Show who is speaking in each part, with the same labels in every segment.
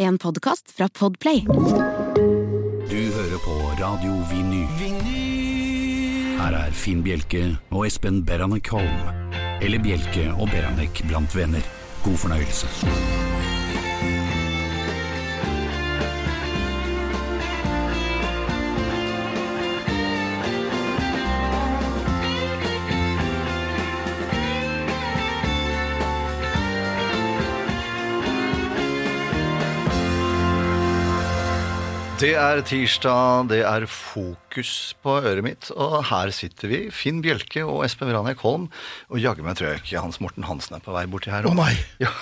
Speaker 1: En podkast fra Podplay.
Speaker 2: Du hører på Radio Vinyl. Her er Finn Bjelke og Espen Beranek Holm. Eller Bjelke og Beranek blant venner. God fornøyelse.
Speaker 3: Det er tirsdag, det er fokus på øret mitt, og her sitter vi, Finn Bjelke og Espen Branek Holm, og jaggu meg tror jeg ikke Hans Morten Hansen er på vei borti her.
Speaker 4: Å
Speaker 3: også.
Speaker 4: nei!
Speaker 3: Ja.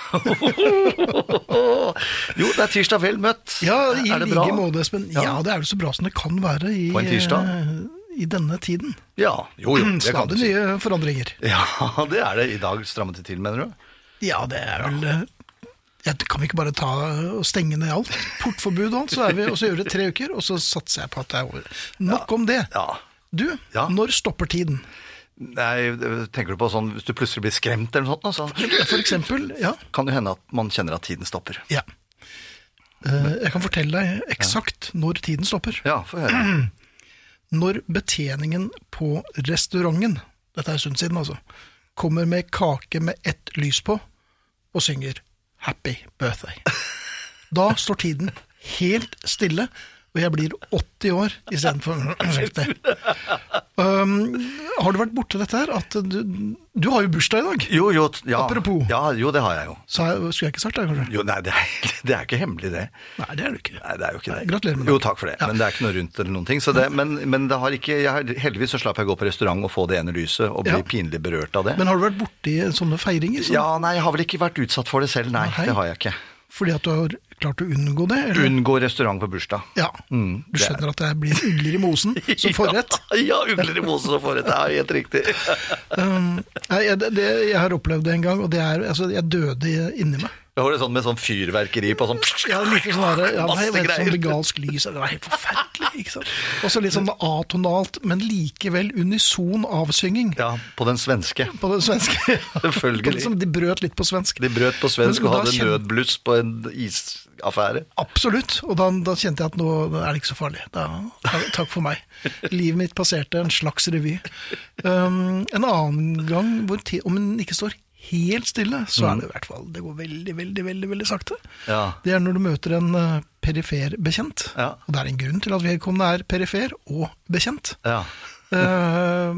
Speaker 3: jo, det er tirsdag, vel møtt.
Speaker 4: Ja, i
Speaker 3: er det bra?
Speaker 4: like måte, Espen. Ja. det er jo så bra som det kan være i,
Speaker 3: På en tirsdag?
Speaker 4: eh, i denne tiden.
Speaker 3: Ja, jo, jo, det kan du
Speaker 4: Stadig
Speaker 3: si.
Speaker 4: nye forandringer.
Speaker 3: Ja, det er det. I dag strammet det til, mener du?
Speaker 4: Ja, det er vel eh, ja, Kan vi ikke bare ta og stenge ned alt? Portforbud og alt, så er vi, og så gjør vi det tre uker, og så satser jeg på at det er over. Nok om det.
Speaker 3: Ja.
Speaker 4: Du,
Speaker 3: Ja.
Speaker 4: når stopper tiden?
Speaker 3: Nei, tenker du på sånn hvis du plutselig blir skremt eller noe sånt, altså,
Speaker 4: For eksempel, ja.
Speaker 3: kan det hende at man kjenner at tiden stopper.
Speaker 4: ja. Eh, Jeg kan fortelle deg eksakt når tiden stopper.
Speaker 3: Ja, få høre.
Speaker 4: Når betjeningen på restauranten, dette er en stund siden altså, kommer med kake med ett lys på og synger 'Happy Birthday'. Da står tiden helt stille, og jeg blir 80 år istedenfor um, Har du vært borti dette her? At du, du har jo bursdag i dag.
Speaker 3: Jo, jo, t- ja.
Speaker 4: Apropos.
Speaker 3: Ja, jo, det har jeg jo.
Speaker 4: Sa jeg, skulle jeg ikke sagt det, kanskje?
Speaker 3: Jo, nei, det er, det er ikke hemmelig det.
Speaker 4: Nei, det er du ikke.
Speaker 3: Nei, det er jo ikke det.
Speaker 4: Nei, gratulerer med
Speaker 3: Jo,
Speaker 4: dagen.
Speaker 3: takk for det.
Speaker 4: Ja.
Speaker 3: Men det er ikke noe rundt eller noen ting. Så det, men men det har ikke, jeg, har- heldigvis så slapp jeg å gå på restaurant og få det ene lyset og bli
Speaker 4: Ja.
Speaker 3: pinlig berørt av det.
Speaker 4: Men har du vært borti sånne feiringer? Sånn,
Speaker 3: ja, nei, jeg har vel ikke vært utsatt for det selv, nei.
Speaker 4: Nei.
Speaker 3: Det har jeg ikke.
Speaker 4: Fordi at du har klart å unngå det? eller?
Speaker 3: Unngå restaurant på bursdag.
Speaker 4: Ja.
Speaker 3: Mm,
Speaker 4: du
Speaker 3: det er-
Speaker 4: skjønner at det blir ugler i mosen som forrett?
Speaker 3: Ja, ja ugler i mosen og forrett. Det er helt riktig.
Speaker 4: Um, nei, jeg, det, jeg har opplevd det en gang, og det er altså, Jeg døde i- inni meg.
Speaker 3: Da var det sånn med sånn fyrverkeri på sånn
Speaker 4: Jeg hadde like sånn der, ja,
Speaker 3: Masse
Speaker 4: jeg vet, sånn
Speaker 3: greier.
Speaker 4: vegansk lys, det var helt forferdelig. ikke sant? Og så litt sånn atonalt, men likevel unison avsynging
Speaker 3: Ja, på den svenske.
Speaker 4: på det svenske.
Speaker 3: Selvfølgelig.
Speaker 4: På det som de brøt litt på svensk.
Speaker 3: De brøt på svensk
Speaker 4: Men
Speaker 3: og
Speaker 4: da
Speaker 3: hadde
Speaker 4: kjen-
Speaker 3: nødbluss på en isaffære.
Speaker 4: Absolutt, og da, da kjente jeg at nå er det ikke så farlig. Da, ta- takk for meg. Livet mitt passerte en slags revy. Um, en annen gang hvor ti- om den ikke står helt stille,
Speaker 3: Mm.
Speaker 4: så er det i hvert fall Det går veldig, veldig, veldig veldig sakte.
Speaker 3: Ja.
Speaker 4: Det er når du møter en eh, perifer bekjent.
Speaker 3: Ja.
Speaker 4: Og det er en grunn til at vedkommende er perifer og bekjent.
Speaker 3: Ja.
Speaker 4: Eh,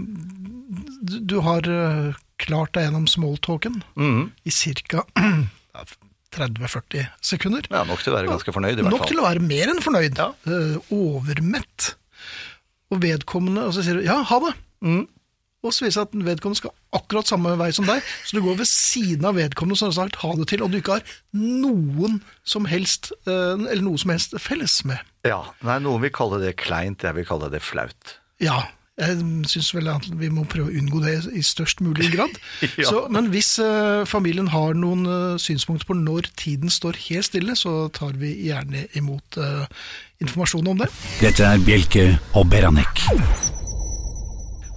Speaker 4: du, du har eh, klart deg gjennom smalltalken
Speaker 3: Mm-hmm.
Speaker 4: i ca. 30-40 sekunder.
Speaker 3: ja, nok til å være ganske fornøyd i hvert
Speaker 4: Nok
Speaker 3: fall.
Speaker 4: til å være mer enn fornøyd. Eh, overmett. Og vedkommende Og så sier du 'ja, ha det'. Mm. Og så viser det seg at vedkommende skal akkurat samme vei som deg, så du går ved siden av vedkommende som har sagt ha det til, og du ikke har noen som helst eh, eller noe som helst felles med.
Speaker 3: Ja, nei, Noen vil kalle det kleint, jeg vil kalle det flaut.
Speaker 4: Ja, jeg syns vel at vi må prøve å unngå det i størst mulig grad.
Speaker 3: Ja.
Speaker 4: så, men hvis eh, familien har noen eh, synspunkter på når tiden står helt stille, så tar vi gjerne imot eh, informasjon om det.
Speaker 2: Dette er Bjelke og Beranek.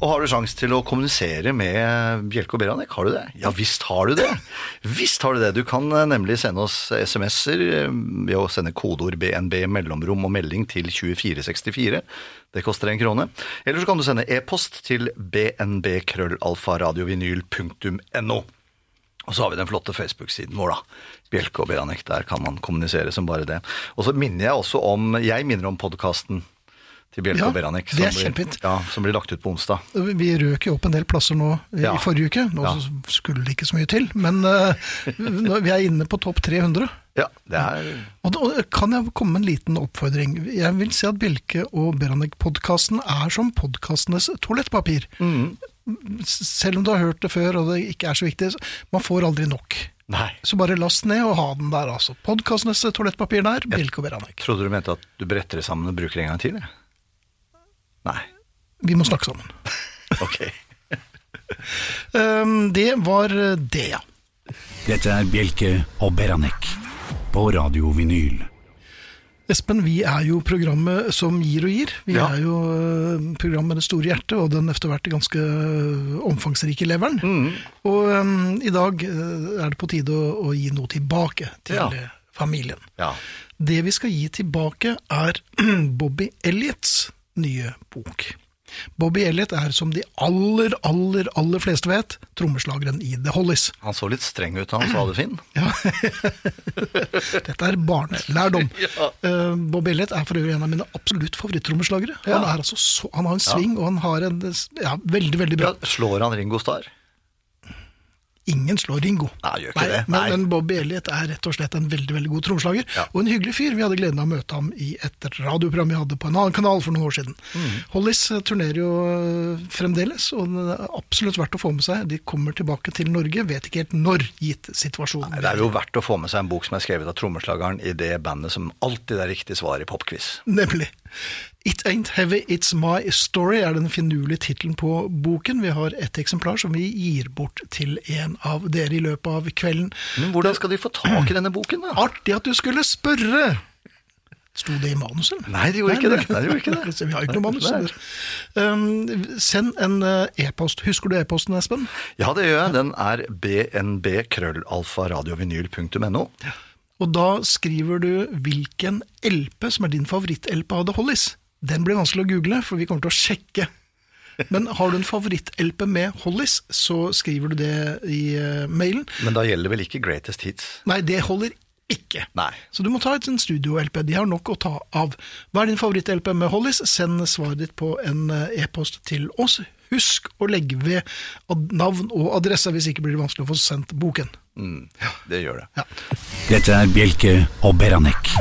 Speaker 3: Og har du sjans til å kommunisere med Bjelke og Beranek? Har du det? Ja visst har du det! Visst har du det! Du kan eh, nemlig sende oss SMS-er eh, ved å sende kodeord BNB mellomrom og melding til 2464. Det koster en krone. Eller så kan du sende e-post til bnbkrøllalfaradiovinyl.no. Og så har vi den flotte Facebook-siden vår, da. Bjelke og Beranek. Der kan man kommunisere som bare det. Og så minner jeg også om Jeg minner om podkasten til Bjelke
Speaker 4: Ja,
Speaker 3: og Beranek.
Speaker 4: det er
Speaker 3: som blir-
Speaker 4: kjempefint.
Speaker 3: Ja, som blir lagt ut på onsdag.
Speaker 4: Vi røk jo opp en del plasser nå eh, i
Speaker 3: Ja.
Speaker 4: forrige uke. Nå
Speaker 3: Ja.
Speaker 4: så skulle det ikke så mye til, men eh, nå- vi er inne på topp 300.
Speaker 3: Ja, det er
Speaker 4: Og da og kan jeg komme med en liten oppfordring. Jeg vil si at Bjelke og Beranek-podkasten er som podkastenes toalettpapir.
Speaker 3: Mm.
Speaker 4: S- Selv om du har hørt det før og det ikke er så viktig, så- man får aldri nok.
Speaker 3: Nei.
Speaker 4: Så bare last ned og ha den der, altså. Podkastenes toalettpapir der, Bjelke og Beranek.
Speaker 3: Trodde du mente at du bretter det sammen og bruker det en gang til? jeg? Nei.
Speaker 4: Vi må snakke sammen.
Speaker 3: Ok.
Speaker 4: Eh, det var det, ja.
Speaker 2: Dette er Bjelke og Beranek på Radio Vinyl.
Speaker 4: Espen, vi er jo programmet som gir og gir. Vi
Speaker 3: Ja.
Speaker 4: er jo eh, programmet med det store hjertet og den etter hvert ganske eh, omfangsrike leveren.
Speaker 3: Mm.
Speaker 4: Og eh, i dag eh, er det på tide å, å gi noe tilbake til
Speaker 3: Ja.
Speaker 4: eh, familien.
Speaker 3: Ja.
Speaker 4: Det vi skal gi tilbake, er Bobby Elliots nye bok. Bobby Elliot er, som de aller, aller, aller fleste vet, trommeslageren i The Hollies.
Speaker 3: Han så litt streng ut, han sa det, Finn.
Speaker 4: Ja. Dette er barnelærdom.
Speaker 3: Ja.
Speaker 4: Eh, Bob Elliot er for øvrig en av mine absolutt favorittrommeslagere. Han, er altså så, han har en sving, og han har en ja, veldig, veldig bra
Speaker 3: Ja, slår han Ringo Starr?
Speaker 4: Ingen slår Ringo.
Speaker 3: Nei, gjør ikke det. Nei.
Speaker 4: Men, men Bobby Elliot er rett og slett en veldig veldig god trommeslager.
Speaker 3: Ja.
Speaker 4: Og en hyggelig fyr. Vi hadde gleden av å møte ham i et radioprogram vi hadde på en annen kanal for noen år siden.
Speaker 3: Mm.
Speaker 4: Hollies turnerer jo øh, fremdeles, og det er absolutt verdt å få med seg. De kommer tilbake til Norge, vet ikke helt når, gitt situasjonen.
Speaker 3: Det er jo verdt å få med seg en bok som er skrevet av trommeslageren i det bandet som alltid er riktig svar i popquiz.
Speaker 4: Nemlig. It Ain't Heavy, It's My Story er den finurlige tittelen på boken. Vi har ett eksemplar som vi gir bort til en av dere i løpet av kvelden.
Speaker 3: Men hvordan skal de få tak i denne boken, da?
Speaker 4: Artig at du skulle spørre! Sto det i manuset? eller?
Speaker 3: Nei, det gjorde ikke det. Nei, det gjorde ikke det.
Speaker 4: Så Vi har ikke noe manus.
Speaker 3: Nei.
Speaker 4: Um, send en eh, e-post. Husker du e-posten, Espen?
Speaker 3: Ja, det gjør jeg. Den er bnb-krøllalfa-radiovinyl.no.
Speaker 4: Og da skriver du hvilken LP som er din favoritt-LP av The Hollies. Den blir vanskelig å google, for vi kommer til å sjekke. Men har du en favoritt-LP med Hollies, så skriver du det i eh, mailen.
Speaker 3: Men da gjelder vel ikke Greatest Hits?
Speaker 4: Nei, det holder ikke.
Speaker 3: Nei.
Speaker 4: Så du må ta et en studio-LP. De har nok å ta av. Hva er din favoritt-LP med Hollies? Send svaret ditt på en eh, e-post til oss. Husk å legge ved ad- navn og adresse, hvis ikke blir det vanskelig å få sendt boken.
Speaker 3: Mm. Det gjør det.
Speaker 2: Dette er Bjelke og Beranek.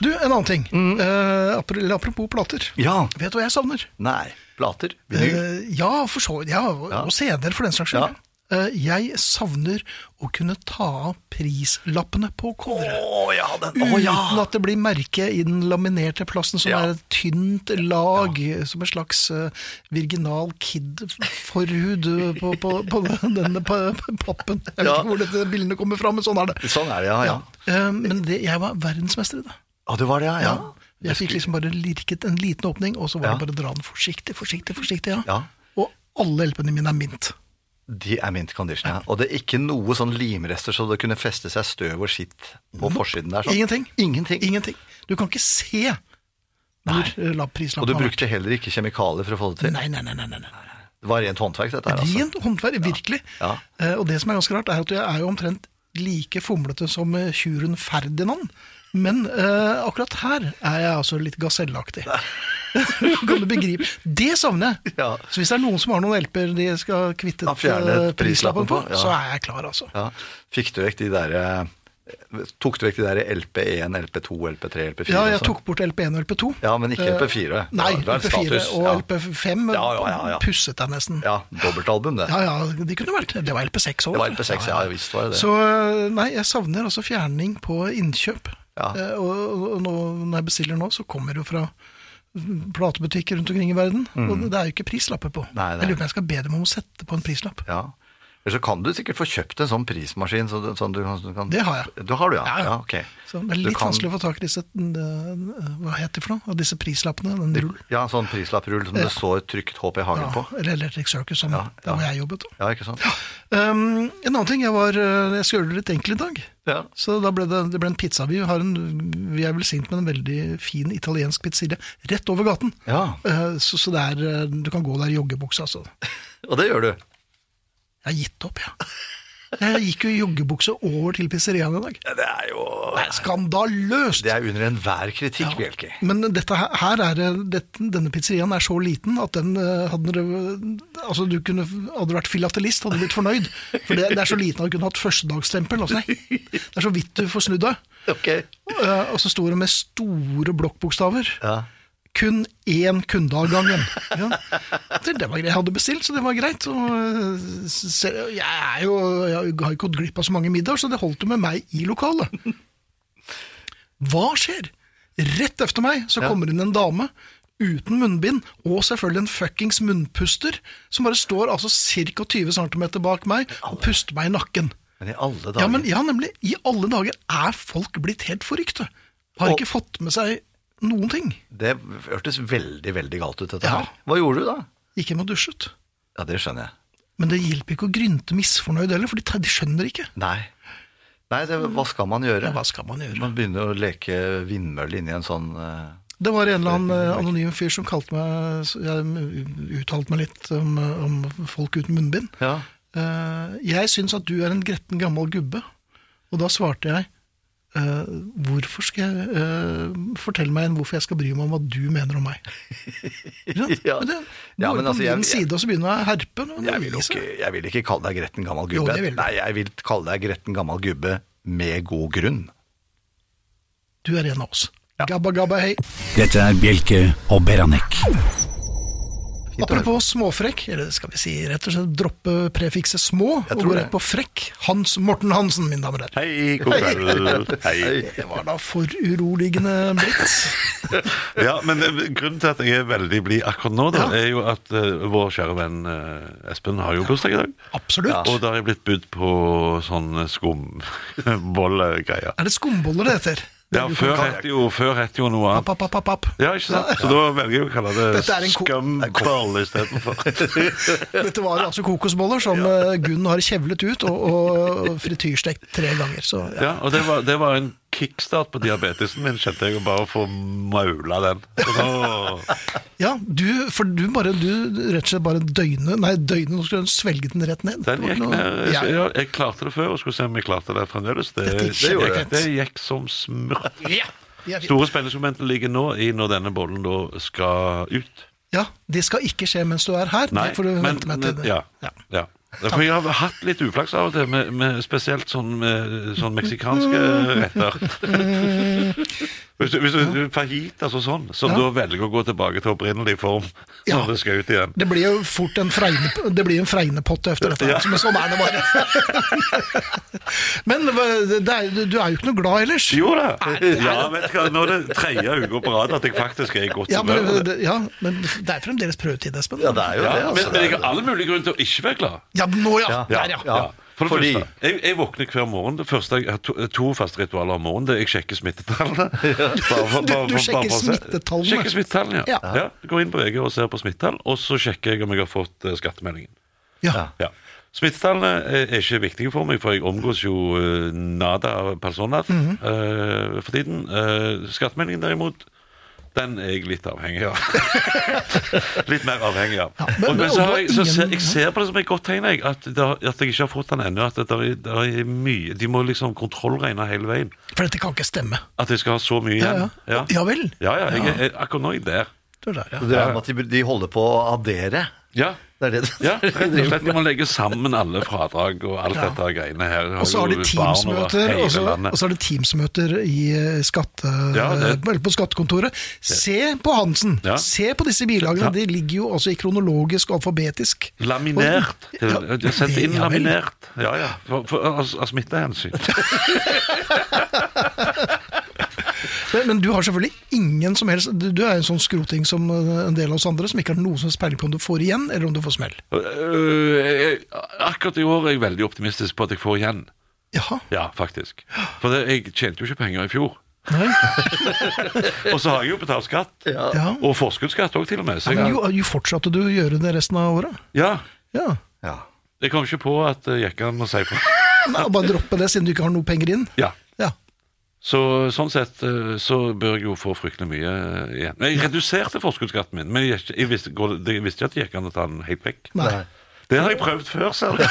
Speaker 4: Du, en annen ting. Eh, apro- eller apropos plater.
Speaker 3: Mm. Ja.
Speaker 4: Vet du hva jeg savner?
Speaker 3: Nei. Plater. Vinyl.
Speaker 4: Eh, ja, for så vidt. Ja, og-
Speaker 3: Ja.
Speaker 4: og CD-er for den saks
Speaker 3: Ja.
Speaker 4: skyld. Eh, jeg savner å kunne ta av prislappene på coveret.
Speaker 3: Å ja, den. Å
Speaker 4: Uten
Speaker 3: ja.
Speaker 4: at det blir merke i den laminerte plasten, som
Speaker 3: Ja.
Speaker 4: er et tynt lag, som en slags eh, virginal kid-forhud eh, på, på, på denne pa- pappen. Jeg vet
Speaker 3: Ja.
Speaker 4: ikke hvor dette bildene kommer fra, men sånn er det.
Speaker 3: Sånn er det, ja. ja.
Speaker 4: Eh, men det, jeg var verdensmester i det.
Speaker 3: Å, det var det, ja.
Speaker 4: Ja. Jeg fikk liksom bare lirket en liten åpning, og så var det bare å dra den forsiktig, forsiktig, forsiktig. ja.
Speaker 3: Ja.
Speaker 4: Og alle LP-ene mine er mint.
Speaker 3: De er mint condition, ja. Og det er ikke noe sånn limrester så det kunne feste seg støv og skitt på forsiden der. Sånn.
Speaker 4: Ingenting.
Speaker 3: Ingenting.
Speaker 4: Ingenting. Du kan ikke se hvor eh, lav
Speaker 3: Og
Speaker 4: prislappen
Speaker 3: du brukte heller ikke kjemikalier for å få det til.
Speaker 4: Nei, nei, nei. nei, nei, nei.
Speaker 3: Det var rent håndverk, dette her, altså.
Speaker 4: Rent håndverk, virkelig.
Speaker 3: Ja.
Speaker 4: Eh, og det som er ganske rart, er at jeg er jo omtrent like fomlete som eh, tjuren Ferdinand. Men eh, akkurat her er jeg altså litt gasellaktig. kan du begripe? Det savner jeg!
Speaker 3: Ja.
Speaker 4: Så hvis det er noen som har noen LP-er de skal kvitte
Speaker 3: Ja, fjerne
Speaker 4: eh, prislappen på,
Speaker 3: ja.
Speaker 4: så er jeg klar, altså.
Speaker 3: Ja. Fikk du vekk de der eh, Tok du vekk de der LP1, LP2, LP3, LP4?
Speaker 4: Ja, jeg
Speaker 3: og sånn?
Speaker 4: tok bort LP1 og LP2.
Speaker 3: Ja, men ikke
Speaker 4: Eh,
Speaker 3: LP4.
Speaker 4: Nei,
Speaker 3: Ja, det var en
Speaker 4: LP4
Speaker 3: status,
Speaker 4: og
Speaker 3: ja.
Speaker 4: LP5
Speaker 3: Ja, ja, ja, ja.
Speaker 4: pusset jeg nesten.
Speaker 3: Ja, dobbeltalbum, det.
Speaker 4: Ja, ja, de kunne vært Det var LP6 òg.
Speaker 3: Det var LP6, ja, visst var det det.
Speaker 4: Så nei, jeg savner altså fjerning på innkjøp.
Speaker 3: Ja.
Speaker 4: Eh, Og, og- og nå, når jeg bestiller nå, så kommer det jo fra platebutikker rundt omkring i verden. Og det er jo ikke prislapper på.
Speaker 3: Mm. Nei, nei.
Speaker 4: Jeg lurer på om jeg skal be dem om å sette på en prislapp.
Speaker 3: Ja. Eller så kan du sikkert få kjøpt en sånn prismaskin. Så du, sånn du, kan- du kan,
Speaker 4: Det har jeg.
Speaker 3: Du har du, ja.
Speaker 4: Ja, ja.
Speaker 3: ja ok.
Speaker 4: Så det er
Speaker 3: Du
Speaker 4: litt
Speaker 3: kan-
Speaker 4: vanskelig å få tak i disse eh, Hva heter det for noe? Av disse prislappene? Den rull?
Speaker 3: Ja, sånn prislapprull som det står trygt HP Hagen
Speaker 4: Ja,
Speaker 3: på.
Speaker 4: eller Electric Circus, som
Speaker 3: Ja,
Speaker 4: der hvor
Speaker 3: ja.
Speaker 4: jeg jobbet.
Speaker 3: Ja, ikke sant?
Speaker 4: Um, en annen ting, jeg, var, eh, jeg skulle gjøre det litt enkelt i dag.
Speaker 3: Ja.
Speaker 4: Så da ble det, det ble en pizza. Vi, har en, vi er velsignet med en veldig fin italiensk pizzeria rett over gaten.
Speaker 3: Ja.
Speaker 4: Eh, Så, så det er, eh, du kan gå der i joggebuksa. Altså.
Speaker 3: Og det gjør du.
Speaker 4: Jeg har gitt opp, jeg. Jeg gikk jo i joggebukse over til pizzeriaen i dag.
Speaker 3: Ja, Det er jo
Speaker 4: Det er skandaløst!
Speaker 3: altså. Det er under enhver kritikk,
Speaker 4: Ja.
Speaker 3: Bjelke.
Speaker 4: Men dette her, her er, det- dette, denne pizzeriaen er så liten at den eh, hadde, dere- altså du kunne, hadde du vært filatelist, hadde du blitt fornøyd. For det, det er så liten at du kunne hatt førstedagstempel. Altså, nei. det er så vidt du får snudd deg.
Speaker 3: Ok.
Speaker 4: Eh, og så sto det med store blokkbokstaver.
Speaker 3: Ja.
Speaker 4: Kun én kunde av gangen. Ja. Det, det var greit. Jeg hadde bestilt, så det var greit. Og, eh, se, jeg, er jo, jeg har jo ikke gått glipp av så mange middager, så det holdt jo med meg i lokalet. Hva skjer? Rett efter meg så kommer inn en dame uten munnbind, og selvfølgelig en fuckings munnpuster, som bare står altså ca. 20 cm bak meg og puster meg i nakken.
Speaker 3: Men i alle dager
Speaker 4: Ja, men ja, nemlig. I alle dager er folk blitt helt forrykte. Har
Speaker 3: Og-
Speaker 4: ikke fått med seg noen ting.
Speaker 3: Det hørtes veldig, veldig galt ut, dette
Speaker 4: Ja.
Speaker 3: her. Hva gjorde du da?
Speaker 4: Gikk hjem og dusjet.
Speaker 3: Ja, det skjønner jeg.
Speaker 4: Men det hjelper ikke å grynte misfornøyd heller, for de, de skjønner ikke.
Speaker 3: Nei. Nei, det, hva skal man gjøre?
Speaker 4: Hva skal man gjøre?
Speaker 3: Man begynner å leke vindmølle inni en sånn eh,
Speaker 4: Det var en eller annen eh, anonym fyr som kalte meg så Jeg eh, uttalte meg litt om, eh, om folk uten munnbind.
Speaker 3: Ja.
Speaker 4: Eh, jeg syns at du er en gretten gammel gubbe. Og da svarte jeg eh, hvorfor skal jeg eh, Fortell meg igjen hvorfor jeg skal bry meg om hva du mener om meg. Ja,
Speaker 3: Ja.
Speaker 4: men det
Speaker 3: Ja,
Speaker 4: går
Speaker 3: men
Speaker 4: på
Speaker 3: altså, jeg-
Speaker 4: min side, og så begynner jeg å herpe. nå,
Speaker 3: Jeg vil, jo
Speaker 4: undervise.
Speaker 3: ikke, jeg vil ikke kalle deg gretten gammel
Speaker 4: Jo,
Speaker 3: gubbe.
Speaker 4: det vil du.
Speaker 3: Nei, jeg vil kalle deg gretten gammel gubbe med god grunn.
Speaker 4: Du er en av oss. Gabba, gabba, hei.
Speaker 2: Dette er Bjelke og Beranek.
Speaker 3: Fint å høre.
Speaker 4: Apropos småfrekk, eller skal vi si rett og slett droppe prefikset små og
Speaker 3: tror
Speaker 4: gå
Speaker 3: det.
Speaker 4: rett på frekk. Hans Morten Hansen, mine damer og herrer.
Speaker 5: Hei, god kveld. Hei.
Speaker 4: Det var da foruroligende blitt.
Speaker 5: Ja, men eh, grunnen til at jeg er veldig blid akkurat nå, da, er jo at eh, vår kjære venn eh, Espen har jo bursdag i dag.
Speaker 4: Absolutt.
Speaker 5: Og da har jeg blitt budt på sånn skumbollegreier.
Speaker 4: Er det skumboller det sånn- heter?
Speaker 5: Ja, før het det jo, før het det jo noe
Speaker 4: App, app,
Speaker 5: annet.
Speaker 4: app, app, app.
Speaker 5: Ja, ikke sant? Så da velger jeg å kalle det
Speaker 4: Dette er en ko-
Speaker 5: skumboll istedenfor.
Speaker 4: Dette var altså kokosboller som eh, Gunn har kjevlet ut og, og frityrstekt tre ganger. Så ja.
Speaker 5: Ja, og det var, det var en kickstart på diabetesen min, kjente jeg, å bare få maula den. Så da,
Speaker 4: ja, du, for du bare Du rett og slett bare døgne Nei, døgne, nå skulle du svelge den rett ned.
Speaker 5: den
Speaker 4: Det
Speaker 5: gikk
Speaker 4: var
Speaker 5: ned.
Speaker 4: noe-
Speaker 5: Jeg,
Speaker 4: Ja.
Speaker 5: jeg, jeg klarte det før, og skulle se om jeg klarte det fremdeles. Det,
Speaker 4: Dette
Speaker 5: det,
Speaker 4: gikk
Speaker 5: gikk,
Speaker 4: kjempegreit.
Speaker 5: det gikk som smør.
Speaker 4: De er fint.
Speaker 5: Store spenningsmomentet ligger nå i når denne bollen da skal ut.
Speaker 4: ja, det skal ikke skje mens du er her.
Speaker 5: Nei,
Speaker 4: det får du
Speaker 5: men
Speaker 4: vente meg til.
Speaker 5: ja, ja. For jeg har hatt litt uflaks av og til, med, med spesielt sånn, med, sånn meksikanske retter. Hvis du, hvis du fajitas og sånn, som
Speaker 4: Ja.
Speaker 5: da velger å gå tilbake til opprinnelig form
Speaker 4: Ja.
Speaker 5: når det skal ut igjen.
Speaker 4: Det blir jo fort en, fregne, det blir en fregnepotte etter dette.
Speaker 5: Ja.
Speaker 4: her, Men sånn er det bare. Men hva- det er, du er jo ikke noe glad ellers.
Speaker 5: Jo da! Ja, vet du hva, nå er det tredje uka på rad at jeg faktisk er i godt
Speaker 4: Ja, men,
Speaker 5: humør.
Speaker 4: det- ja, men det er fremdeles prøvetid, Espen.
Speaker 3: ja, det er jo
Speaker 5: Ja,
Speaker 3: det.
Speaker 5: men,
Speaker 3: Altså,
Speaker 5: men
Speaker 3: det
Speaker 5: jeg
Speaker 3: er,
Speaker 5: har all mulig grunn til å ikke være glad.
Speaker 4: Ja, nå ja.
Speaker 3: Ja.
Speaker 4: Der, ja.
Speaker 5: Ja. For det
Speaker 3: Fordi-
Speaker 5: første, jeg, jeg våkner hver morgen. Det første, jeg har to, eh, to faste ritualer om morgenen. Det er jeg sjekker smittetallene. Bare for-
Speaker 4: Du-
Speaker 5: bare
Speaker 4: du
Speaker 5: for-
Speaker 4: sjekker
Speaker 5: bare for å se.
Speaker 4: smittetallene?
Speaker 5: Sjekker smittetallene, ja.
Speaker 4: Ja.
Speaker 5: ja. Går inn på VG og ser på smittetall, og så sjekker jeg om jeg har fått eh, skattemeldingen.
Speaker 4: ja.
Speaker 5: Ja. Smittetallene eh, er er ikke viktige for meg, for jeg omgås jo eh, nada personer
Speaker 4: Mhm.
Speaker 5: eh, for tiden. Eh, skattemeldingen derimot, den er jeg litt avhengig av. litt mer avhengig av.
Speaker 4: Ja, men- men-
Speaker 5: og, men
Speaker 4: og
Speaker 5: så har
Speaker 4: det
Speaker 5: jeg,
Speaker 4: var
Speaker 5: så ser,
Speaker 4: ingen-
Speaker 5: jeg ser på det som et godt tegn, jeg, at, det har- at jeg ikke har fått den ennå. At det der er, der er mye De må liksom kontrollregne hele veien.
Speaker 4: For dette kan ikke stemme.
Speaker 5: At jeg skal ha så mye
Speaker 4: Ja,
Speaker 5: igjen.
Speaker 4: ja. Ja vel.
Speaker 5: Ja, ja, jeg, er- er akkurat nå er jeg der.
Speaker 4: Det er der, ja.
Speaker 3: det er med at de, de holder på å adere.
Speaker 5: Ja.
Speaker 3: Det er det
Speaker 5: Ja, rett og slett. De må legge sammen alle fradrag og alt dette greiene her.
Speaker 4: Og så har de
Speaker 5: jo barn over
Speaker 4: Teams-møter
Speaker 5: hele
Speaker 4: og så-
Speaker 5: landet.
Speaker 4: og så har de Teams-møter i eh, skatte, eh,
Speaker 5: Ja, det-
Speaker 4: eller på skattekontoret. Se på Hansen!
Speaker 5: Ja.
Speaker 4: Se på disse bilagene!
Speaker 5: Ja.
Speaker 4: De ligger jo altså i kronologisk og alfabetisk.
Speaker 5: Laminert. Til,
Speaker 4: Ja,
Speaker 5: de har sendt inn
Speaker 4: ja vel.
Speaker 5: laminert. Ja, ja. For, for, av av smittehensyn.
Speaker 4: Men, men du har selvfølgelig ingen som helst Du, du er en sånn skroting som eh, en del av oss andre, som ikke har noe som helst peiling på om du får igjen, eller om du får smell.
Speaker 5: Øh, jeg- Akkurat i år er jeg veldig optimistisk på at jeg får igjen.
Speaker 4: Jaha.
Speaker 5: Ja, faktisk. For det, jeg tjente jo ikke penger i fjor. og så har jeg jo betalt skatt.
Speaker 4: Ja.
Speaker 5: Og forskuddsskatt òg, til og med. Så jeg,
Speaker 4: Men
Speaker 5: har-
Speaker 4: jo, jo fortsatte du å gjøre det resten av året?
Speaker 5: ja,
Speaker 4: Ja.
Speaker 3: Ja.
Speaker 5: jeg kom ikke på at eh, gikk an å si fra.
Speaker 4: Nei, og bare droppe det, siden du ikke har noe penger inn?
Speaker 5: Ja.
Speaker 4: Ja.
Speaker 5: Så sånn sett eh, så bør jeg jo få fryktelig mye eh, igjen. Men Jeg reduserte forskuddsskatten min, men jeg, jeg, visste, går det- jeg visste ikke at det gikk an å ta den helt vekk.
Speaker 4: Nei.
Speaker 5: Det har jeg prøvd før, ser du.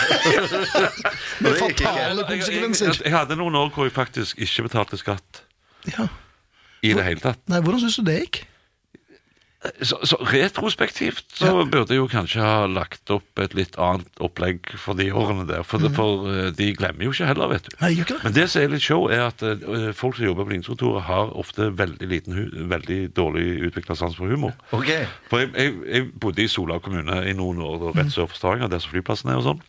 Speaker 3: Det
Speaker 4: Med
Speaker 3: gikk ikke.
Speaker 4: fatale
Speaker 5: Jeg, jeg, jeg,
Speaker 4: konsekvenser.
Speaker 5: jeg hadde noen år hvor jeg faktisk ikke betalte skatt
Speaker 4: Ja.
Speaker 5: i det hele tatt.
Speaker 4: Nei, hvordan syns du det gikk?
Speaker 5: Så, så retrospektivt så burde jeg jo kanskje ha lagt opp et litt annet opplegg for de årene der. For, det- for eh, de glemmer jo ikke heller, vet du.
Speaker 4: Nei, gjør ikke det.
Speaker 5: Men det som er litt show, er at eh, folk som jobber på ligningskontoret, har ofte veldig liten, hu- veldig dårlig utvikla sans for humor.
Speaker 3: Ok.
Speaker 5: For jeg, jeg, jeg bodde i Sola kommune i noen år, da, rett sør for Stavanger, der som flyplassen er og sånn.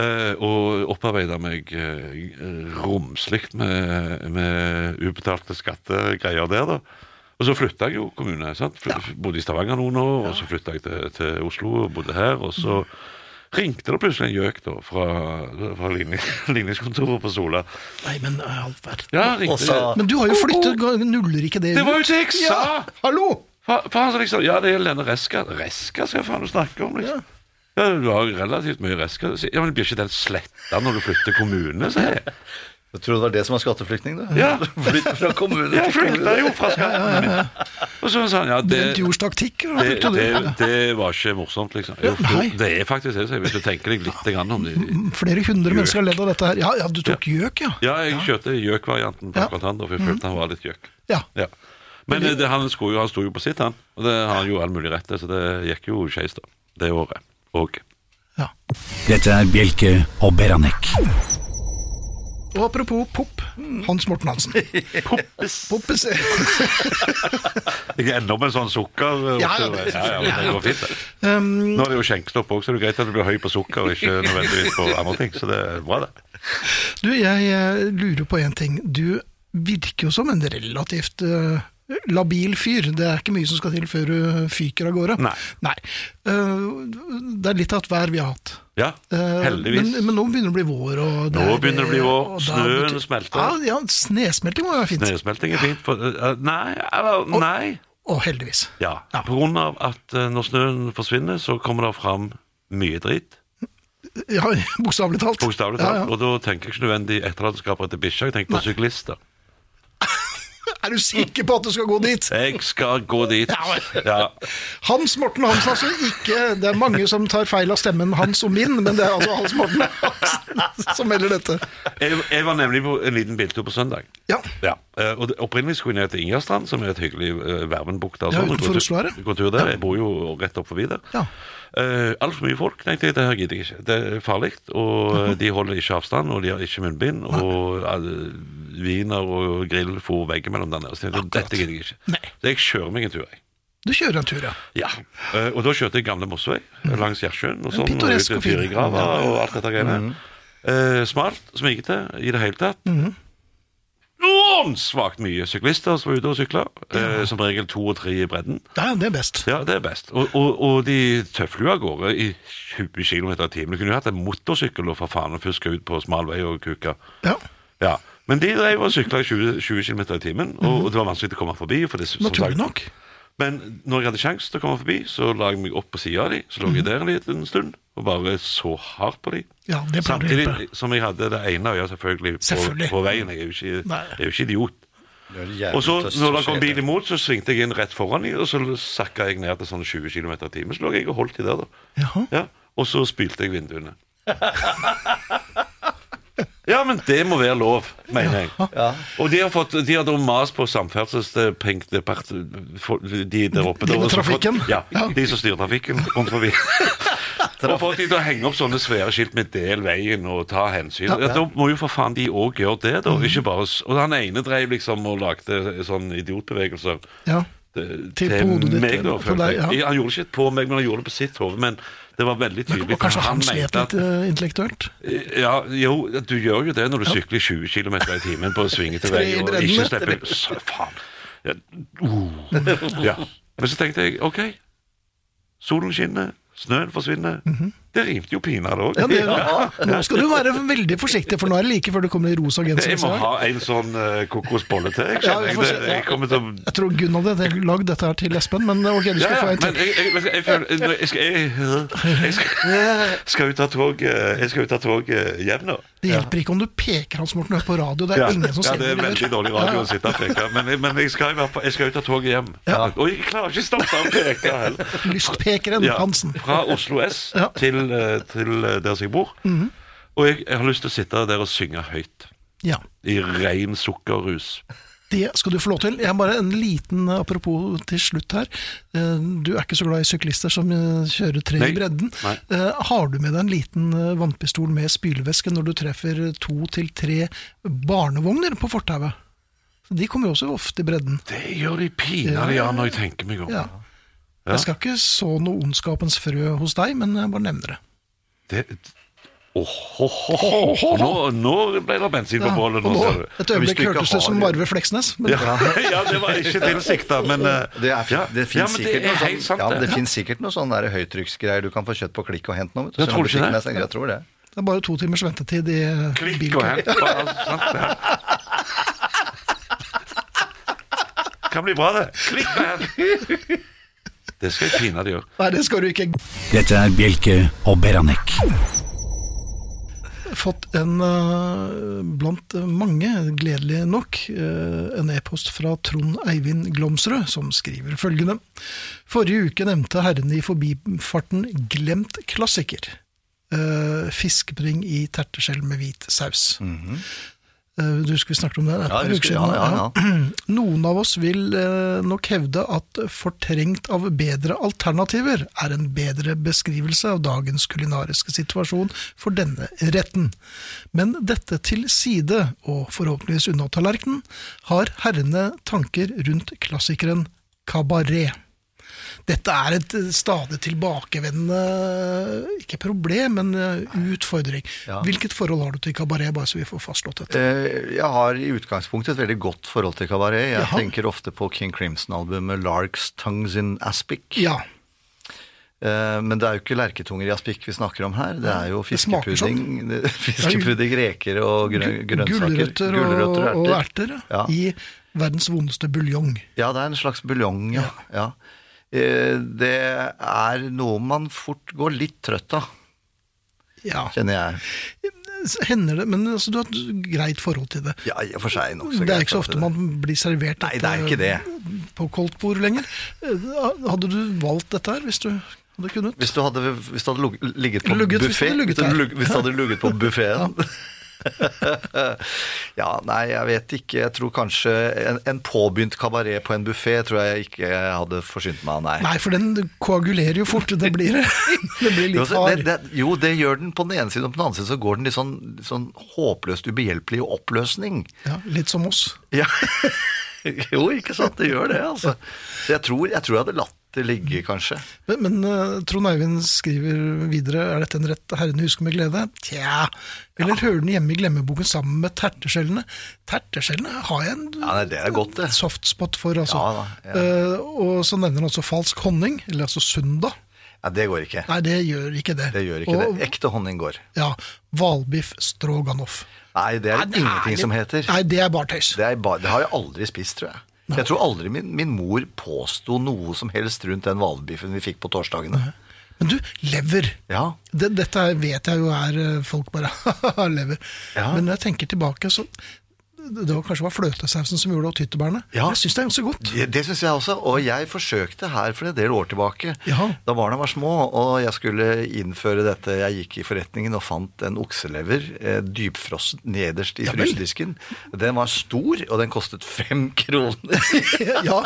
Speaker 5: Eh, og opparbeida meg eh, romslig med, med ubetalte skattegreier der, da. Og så flytta jeg jo kommune. sant? Fly, Bodde i Stavanger noen år, og så flytta jeg til, til Oslo og bodde her. Og så ringte det plutselig en gjøk da, fra, fra ligning- ligningskontoret på Sola.
Speaker 4: Nei, men eh, all verden.
Speaker 5: Ja,
Speaker 3: Og
Speaker 5: ringte
Speaker 3: sa-
Speaker 4: Men du har jo flyttet, ga- nuller ikke det
Speaker 5: Det var
Speaker 4: ut?
Speaker 5: jo det jeg sa!
Speaker 4: Hallo!
Speaker 5: Fa- Faen, så liksom, ja, det gjelder denne reska. Reska skal jeg faen snakke om, liksom. Ja, du har jo relativt mye reska. Så- Ja, men Blir ikke den sletta når du flytter kommune, sier jeg.
Speaker 3: Jeg tror det var det som var skatteflyktning, du.
Speaker 5: Ja.
Speaker 3: Flytt fra kommune
Speaker 5: Jeg
Speaker 3: til kommune.
Speaker 5: flykta jo fra skatten min. Og så sa han ja, det,
Speaker 4: Bent Jors taktikk. hva
Speaker 5: det,
Speaker 4: brukte du?
Speaker 5: det, det var ikke morsomt, liksom. Jo,
Speaker 4: Ja, nei.
Speaker 5: det er faktisk det, så hvis du tenker deg litt grann om det.
Speaker 4: Mm, Flere hundre mennesker har ledd av dette her. Ja, ja, du tok gjøk, ja.
Speaker 5: Ja, jeg kjørte gjøk-varianten på
Speaker 4: Ja.
Speaker 5: akkurat han, da, for jeg følte han var litt gjøk.
Speaker 4: Ja.
Speaker 5: Ja. Men eh, det, han, skulle jo, han sto jo på sitt, han. Og det har han jo all mulig rett til, så det gikk jo skeis da, det året. Og
Speaker 4: ja.
Speaker 2: Dette er Bjelke og Beranek.
Speaker 4: Og apropos Pop, Hans Morten Hansen.
Speaker 5: poppes!
Speaker 4: Poppes.
Speaker 5: Jeg er enda med en sånn sukker. eh,
Speaker 4: Ja, ja,
Speaker 5: oppover.
Speaker 4: det-
Speaker 5: ja, ja, men det går fint, det.
Speaker 4: Um,
Speaker 5: Nå er det jo skjenkestopp òg, så det er jo greit at du blir høy på sukker og ikke nødvendigvis på andre ting. Så det er bra, det.
Speaker 4: du, jeg eh, lurer på en ting. Du virker jo som en relativt eh, labil fyr. Det er ikke mye som skal til før du fyker av gårde.
Speaker 5: Nei.
Speaker 4: Eh, det er litt av et vær vi har hatt.
Speaker 5: Ja,
Speaker 4: Eh,
Speaker 5: heldigvis.
Speaker 4: Men, men nå begynner det å bli vår. Og det
Speaker 5: Nå
Speaker 4: er-
Speaker 5: begynner det å bli vår.
Speaker 4: og da
Speaker 5: Snøen
Speaker 4: betyr-
Speaker 5: smelter.
Speaker 4: Ja, ja, snesmelting må jo være fint.
Speaker 5: Snøsmelting er fint. For, eh, nei, eller nei.
Speaker 4: Og heldigvis.
Speaker 5: Ja. På grunn av at eh, når snøen forsvinner, så kommer det fram mye dritt.
Speaker 4: Ja, Bokstavelig talt.
Speaker 5: Bokstavelig
Speaker 4: Ja,
Speaker 5: talt.
Speaker 4: ja.
Speaker 5: Og da tenker jeg ikke nødvendig etterlatenskaper til bikkja, jeg tenker på syklister.
Speaker 4: Er du sikker på at du skal gå dit?
Speaker 5: Jeg skal gå dit. Ja.
Speaker 4: Hans Morten Hansen, altså. Ikke, det er mange som tar feil av stemmen hans og min, men det er altså Hans Morten Hansen som melder dette.
Speaker 5: Jeg, jeg var nemlig på en liten biltur på søndag.
Speaker 4: Ja,
Speaker 5: Ja, eh, og det, Opprinnelig skulle jeg ned til Ingerstrand, som er et hyggelig eh, Værmundbukt. der,
Speaker 4: Ja,
Speaker 5: sånn, og
Speaker 4: utenfor
Speaker 5: gå tur-
Speaker 4: Oslo her, ja.
Speaker 5: Gå tur der. Jeg bor jo rett opp forbi der.
Speaker 4: Ja.
Speaker 5: Eh, Altfor mye folk, tenkte jeg. Det her gidder jeg ikke. Det er farlig. Og eh, de holder ikke avstand, og de har ikke munnbind. Og alle viner og grill for veggimellom der nede. Så jeg tenkte, dette gidder jeg ikke.
Speaker 4: Nei.
Speaker 5: Så jeg kjører meg en tur, jeg.
Speaker 4: du kjører en tur, ja.
Speaker 5: Ja, eh, og da kjørte jeg Gamle Mossevei langs Gjersjøen. Og sånn, og ut
Speaker 4: pittoresk
Speaker 5: til
Speaker 4: og fin.
Speaker 5: Fyrigrava og alt dette greiene. Eh, smalt, smigete i det hele tatt. Noen svakt mye syklister som var ute og sykla. eh, som regel to og tre i bredden.
Speaker 4: Ja, det er best.
Speaker 5: Ja, det er best. Og, og, og de tøfler jo av gårde i 20 km i timen. Du kunne jo hatt en motorsykkel og for faen og fuska ut på smal vei og kuka.
Speaker 4: Ja.
Speaker 5: Ja, Men de drev og sykla i 20, 20 km i timen, og, og det var vanskelig å komme forbi. For det, som sagt-
Speaker 4: Naturlig nok.
Speaker 5: men når jeg hadde sjanse til å komme forbi, så la jeg meg opp på sida av dem. Så lå jeg der en liten stund og bare så hardt på dem.
Speaker 4: Mhm. Ja, det pleier å hjelpe.
Speaker 5: Samtidig som jeg hadde det ene øyet selvfølgelig,
Speaker 4: Selvfølgelig.
Speaker 5: På, på veien. Jeg er jo ikke,
Speaker 4: Nei.
Speaker 5: jeg er jo ikke idiot.
Speaker 3: Det er jævlig
Speaker 5: Og så
Speaker 3: tøst
Speaker 5: når
Speaker 3: å
Speaker 5: det kom
Speaker 3: se
Speaker 5: bil imot, så svingte jeg inn rett foran dem, og så sakka jeg ned til sånn 20 km i timen. Så lå jeg og holdt i der, da.
Speaker 4: Jaha.
Speaker 5: Ja, og så spylte jeg vinduene. Ja, men det må være lov, mener jeg. Og de har, fått, de har da mast på samferdselsdepartementet, de der oppe.
Speaker 4: De
Speaker 5: da,
Speaker 4: med
Speaker 5: og så fått-
Speaker 4: trafikken?
Speaker 5: Ja,
Speaker 4: Ja.
Speaker 5: de som styrer trafikken rundt forbi. Og fått de til å henge opp sånne svære skilt med 'del veien' og 'ta hensyn'. Ja, Da må jo for faen de òg gjøre det, da.
Speaker 4: Mhm.
Speaker 5: Ikke bare, s- og han ene drev liksom og lagde sånne idiotbevegelser
Speaker 4: Ja.
Speaker 5: til,
Speaker 4: Til på hodet ditt,
Speaker 5: meg, da.
Speaker 4: eller på
Speaker 5: følte
Speaker 4: deg,
Speaker 5: jeg.
Speaker 4: ja.
Speaker 5: Han gjorde ikke på meg, men han gjorde det på sitt hode. Men det var veldig tydelig.
Speaker 4: Og kanskje
Speaker 5: for
Speaker 4: han
Speaker 5: mente
Speaker 4: slet
Speaker 5: at-
Speaker 4: litt eh, intellektuelt.
Speaker 5: ja, jo, du gjør jo det når du sykler 20 km i timen på svingete
Speaker 4: Tre
Speaker 5: vei
Speaker 4: i
Speaker 5: og
Speaker 4: bredden,
Speaker 5: ikke
Speaker 4: ja.
Speaker 5: slipper Så Faen. Ja, uh. ja. Men så tenkte jeg OK, solen skinner, snøen forsvinner. Det rimte jo pinadø
Speaker 4: Mhm. Ja,
Speaker 5: òg.
Speaker 4: det, Nå skal du være veldig forsiktig, for nå er det like før du kommer i rosa genser.
Speaker 5: Jeg må
Speaker 4: neste gang.
Speaker 5: ha en sånn eh, kokosbolle til. Jeg,
Speaker 4: Ja,
Speaker 5: skjønner.
Speaker 4: vi
Speaker 5: jeg,
Speaker 4: får se,
Speaker 5: det-
Speaker 4: ja.
Speaker 5: jeg kommer til å
Speaker 4: Jeg tror Gunn hadde lagd dette her til Espen, men eh, ok, du
Speaker 5: ja,
Speaker 4: skal
Speaker 5: ja,
Speaker 4: få en
Speaker 5: men
Speaker 4: til.
Speaker 5: jeg, jeg, jeg, jeg, føler- jeg, jeg, skal- jeg, jeg skal, skal ut av tog eh, Jeg skal ut av tog eh, hjem nå.
Speaker 4: Det hjelper ikke om du peker Hans Morten på radio, det er
Speaker 5: Ja,
Speaker 4: ingen som
Speaker 5: ja
Speaker 4: ser
Speaker 5: det er veldig dårlig radio å sitte og peke. Men, men jeg, skal, i hvert fall- jeg skal ut av toget hjem.
Speaker 4: Ja.
Speaker 5: Og jeg klarer ikke å stoppe å peke heller.
Speaker 4: Lystpekeren
Speaker 5: Ja,
Speaker 4: Hansen.
Speaker 5: fra Oslo S
Speaker 4: Ja. Mhm.
Speaker 5: til, eh, til eh, der som jeg bor. Og jeg, jeg har lyst til å sitte der og synge høyt.
Speaker 4: Ja.
Speaker 5: I rein sukkerrus.
Speaker 4: Det skal du få lov til. Jeg har bare en liten eh, apropos til slutt her. Eh, Du er ikke så glad i syklister som eh, kjører tre
Speaker 5: Nei.
Speaker 4: i bredden.
Speaker 5: Nei.
Speaker 4: Eh, Har du med deg en liten eh, vannpistol med spylevæske når du treffer eh, to til tre barnevogner på fortauet? De kommer jo også ofte i bredden.
Speaker 5: Det gjør de pinadø, ja, når jeg tenker meg om.
Speaker 4: Ja. Jeg skal ikke så noe ondskapens frø hos deg, men jeg bare nevner det.
Speaker 5: Det, Åh, ho, ho, ho. Nå, nå ble det bensin på
Speaker 4: Ja.
Speaker 5: bålet.
Speaker 4: Og
Speaker 5: Nå,
Speaker 4: nå,
Speaker 5: ser du.
Speaker 4: et øyeblikk
Speaker 3: ikke
Speaker 4: hørtes det
Speaker 3: har
Speaker 4: som
Speaker 3: det-
Speaker 4: Varve Fleksnes. Men
Speaker 5: Ja, ja, det var ikke tilsikta, men eh,
Speaker 3: Det, er, fi-
Speaker 5: ja.
Speaker 3: det
Speaker 5: ja,
Speaker 3: finnes
Speaker 5: men
Speaker 3: sikkert
Speaker 5: det
Speaker 3: noe
Speaker 5: er helt
Speaker 3: sånn,
Speaker 5: sant,
Speaker 3: ja, men
Speaker 5: det.
Speaker 3: det finnes sikkert noe sånn der høytrykksgreier du kan få kjøtt på klikk og hent nå. vet du.
Speaker 5: Jeg
Speaker 3: Selv
Speaker 5: tror
Speaker 3: om
Speaker 5: ikke
Speaker 3: butikken
Speaker 5: det.
Speaker 3: er stengt, Jeg tror det.
Speaker 4: det er bare to timers ventetid i eh,
Speaker 5: Klikk og
Speaker 4: bilkø.
Speaker 5: hent. og alt sånt, ja. Kan bli bra, det. Klikk og hent. Det skal jeg pinadø gjøre.
Speaker 4: Nei, det skal du ikke.
Speaker 2: Dette er Bjelke og Beranek.
Speaker 4: fått en, eh, blant mange, gledelig nok, eh, en e-post fra Trond Eivind Glomsrud, som skriver følgende. Forrige uke nevnte herrene i forbifarten glemt klassiker. Eh, Fiskebring i terteskjell med hvit saus. Eh, Du husker vi snakket om det? det er
Speaker 3: Mhm.
Speaker 4: et
Speaker 3: Ja, jeg
Speaker 4: par uker
Speaker 3: husker-
Speaker 4: siden,
Speaker 3: ja, ja,
Speaker 4: Noen av oss vil eh, nok hevde at fortrengt av bedre alternativer er en bedre beskrivelse av dagens kulinariske situasjon for denne retten. Men dette til side, og forhåpentligvis unna tallerkenen, har herrene tanker rundt klassikeren kabaret. Dette er et eh, stadig tilbakevendende, ikke problem, men eh, utfordring.
Speaker 3: Ja.
Speaker 4: Hvilket forhold har du til kabaret, bare så vi får fastslått dette?
Speaker 3: Eh, Jeg har i utgangspunktet et veldig godt forhold til kabaret. Jeg
Speaker 4: Jaha.
Speaker 3: tenker ofte på King Crimson-albumet 'Larks Tongues in Aspic'.
Speaker 4: Ja,
Speaker 3: Eh, Men det er jo ikke lerketunger i aspik vi snakker om her. Det er jo
Speaker 4: Det smaker
Speaker 3: fiskepudding, fiskepudding reker og grø-
Speaker 4: gu-
Speaker 3: grønnsaker.
Speaker 4: Gulrøtter og, og erter
Speaker 3: Ja.
Speaker 4: i verdens vondeste buljong.
Speaker 3: Ja, det er en slags buljong, ja. ja. Eh, Det er noe man fort går litt trøtt av,
Speaker 4: Ja,
Speaker 3: kjenner jeg.
Speaker 4: så hender det, men altså, du har et greit forhold til det.
Speaker 3: Ja, i og for seg nok
Speaker 4: det er ikke
Speaker 3: greit
Speaker 4: så
Speaker 3: at
Speaker 4: ofte man blir servert
Speaker 3: Nei,
Speaker 4: dette
Speaker 3: det er ikke det.
Speaker 4: på koldtbord lenger. Eh, Hadde du valgt dette her hvis du hadde kunnet?
Speaker 3: Hvis du hadde, hvis du hadde lug- ligget på
Speaker 4: Lugget, hvis du
Speaker 3: buffé
Speaker 4: hadde
Speaker 3: hvis,
Speaker 4: lugget
Speaker 3: du
Speaker 4: der.
Speaker 3: lug- hvis du hadde lugget på buffeen Ja, nei, jeg vet ikke. Jeg tror kanskje en, en påbegynt kabaret på en buffé tror jeg ikke jeg hadde forsynt meg av, nei.
Speaker 4: Nei, for den koagulerer jo fort. Det blir, det blir
Speaker 3: Jo,
Speaker 4: litt
Speaker 3: så
Speaker 4: hard.
Speaker 3: det, det, jo, det gjør den på den ene siden, og på den andre siden så går den litt sånn, litt sånn håpløst ubehjelpelig i oppløsning.
Speaker 4: Ja, litt som oss.
Speaker 3: Ja. jo, ikke sant, det gjør det, altså. Så jeg tror jeg, tror jeg hadde latt det ligge, kanskje.
Speaker 4: Men, men eh, Trond Eivind skriver videre Er dette en rett herrene husker med glede? Tja. Eller hører den hjemme i glemmeboken sammen med terteskjellene? Terteskjellene har jeg en
Speaker 3: Ja, nei, det er godt, det.
Speaker 4: softspot for, altså.
Speaker 3: Ja da, ja.
Speaker 4: Eh, og så nevner han også falsk honning, eller altså søndag.
Speaker 3: Ja, det går ikke.
Speaker 4: Nei, det gjør ikke det.
Speaker 3: Det gjør ikke
Speaker 4: og,
Speaker 3: det. Ekte honning går.
Speaker 4: Ja. Hvalbiff stroganoff.
Speaker 3: Nei, det er
Speaker 4: Nei,
Speaker 3: det ingenting som heter.
Speaker 4: Nei, det er bare tøys.
Speaker 3: Det, er bare, det har jeg aldri spist, tror jeg. Jeg tror aldri min, min mor påsto noe som helst rundt den hvalbiffen vi fikk på torsdagene.
Speaker 4: Men du, lever.
Speaker 3: Ja.
Speaker 4: Det, dette her vet jeg jo er eh, folk bare lever.
Speaker 3: Ja.
Speaker 4: Men når jeg tenker tilbake, så det var kanskje var fløtesausen som gjorde det, og tyttebærene.
Speaker 3: Ja.
Speaker 4: Jeg syns det er ganske godt.
Speaker 3: Det, det syns jeg også, og jeg forsøkte her for en del år tilbake.
Speaker 4: Jaha.
Speaker 3: Da barna var små og jeg skulle innføre dette. Jeg gikk i forretningen og fant en okselever eh, dypfrossen nederst i
Speaker 4: vel.
Speaker 3: frysedisken. Den var stor, og den kostet fem kroner.
Speaker 4: Ja.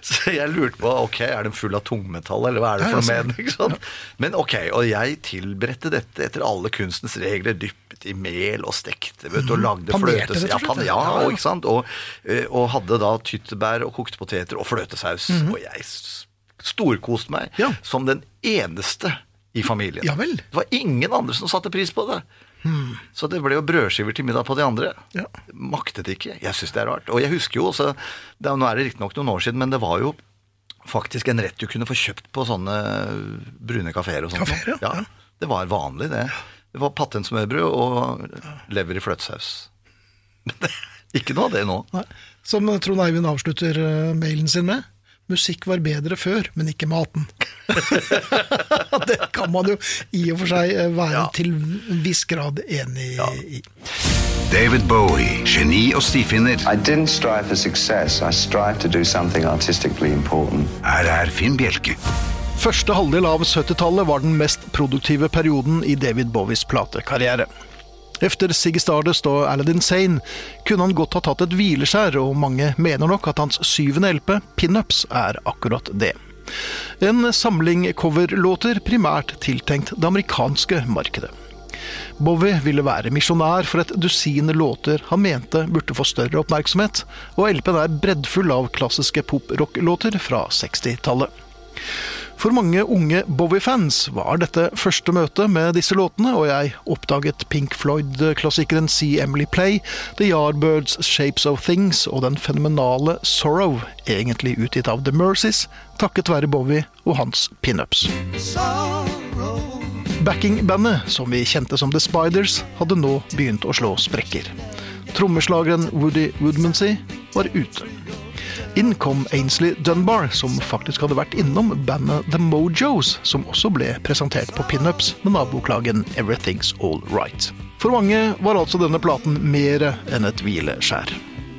Speaker 3: Så jeg lurte på ok, er den full av tungmetall, eller hva er det for
Speaker 4: Ja, ja,
Speaker 3: noe med den? ikke sant? Men ok, og jeg tilberedte dette etter alle kunstens regler, dyppet i mel og stekte, vet du, og lagde
Speaker 4: Mhm. Panerte,
Speaker 3: fløtes...
Speaker 4: rett
Speaker 3: Ja,
Speaker 4: og slett,
Speaker 3: pan, ja,
Speaker 4: ja, ja.
Speaker 3: og, ikke sant? Og, eh, og hadde da tyttebær og kokte poteter og fløtesaus, og jeg s- storkoste meg
Speaker 4: Mhm. Ja.
Speaker 3: som den eneste i familien.
Speaker 4: Ja vel.
Speaker 3: Det var ingen andre som satte pris på det. Så det ble jo brødskiver til middag på de andre.
Speaker 4: Ja.
Speaker 3: Maktet ikke. Jeg syns det er rart. Og jeg husker jo også det, er- Nå er det riktignok noen år siden, men det var jo faktisk en rett du kunne få kjøpt på sånne eh, brune kafeer og sånt.
Speaker 4: Kafeer, ja.
Speaker 3: ja. Det var vanlig, det. Det var pattensmørbrød og lever i fløtesaus. Men det er ikke noe av det nå.
Speaker 4: Nei. Som Trond Eivind avslutter eh, mailen sin med. Musikk var bedre før, men ikke maten. det kan man jo i og for seg eh, være
Speaker 3: Ja.
Speaker 4: til en viss grad enig i.
Speaker 6: David Bowie, geni og stifinner.
Speaker 7: I didn't strive for success. I strived to do something artistically important.
Speaker 6: Her er Finn Bjelke.
Speaker 4: Første halvdel av 70-tallet var den mest produktive perioden i David Bowies platekarriere. Efter Siggy Stardust og Aladdin Sane kunne han godt ha tatt et hvileskjær, og mange mener nok at hans syvende LP, Pinups, er akkurat det. En samling coverlåter primært tiltenkt det amerikanske markedet. Bowie ville være misjonær for et dusin låter han mente burde få større oppmerksomhet, og LP-en er breddfull av klassiske pop-rock-låter fra 60-tallet. For mange unge Bowie-fans var dette første møte med disse låtene, og jeg oppdaget Pink Floyd-klassikeren See Emily Play, The Yardbirds' Shapes of Things og den fenomenale Sorrow, egentlig utgitt av The Mercies, takket være Bowie og hans pinups. Backing-bandet, som vi kjente som The Spiders, hadde nå begynt å slå sprekker. Trommeslageren Woody Woodmansey var ute. Inn kom Ainsley Dunbar, som faktisk hadde vært innom bandet The Mojos, som også ble presentert på pinups med naboklagen Everything's All Right. For mange var altså denne platen mer enn et hvileskjær.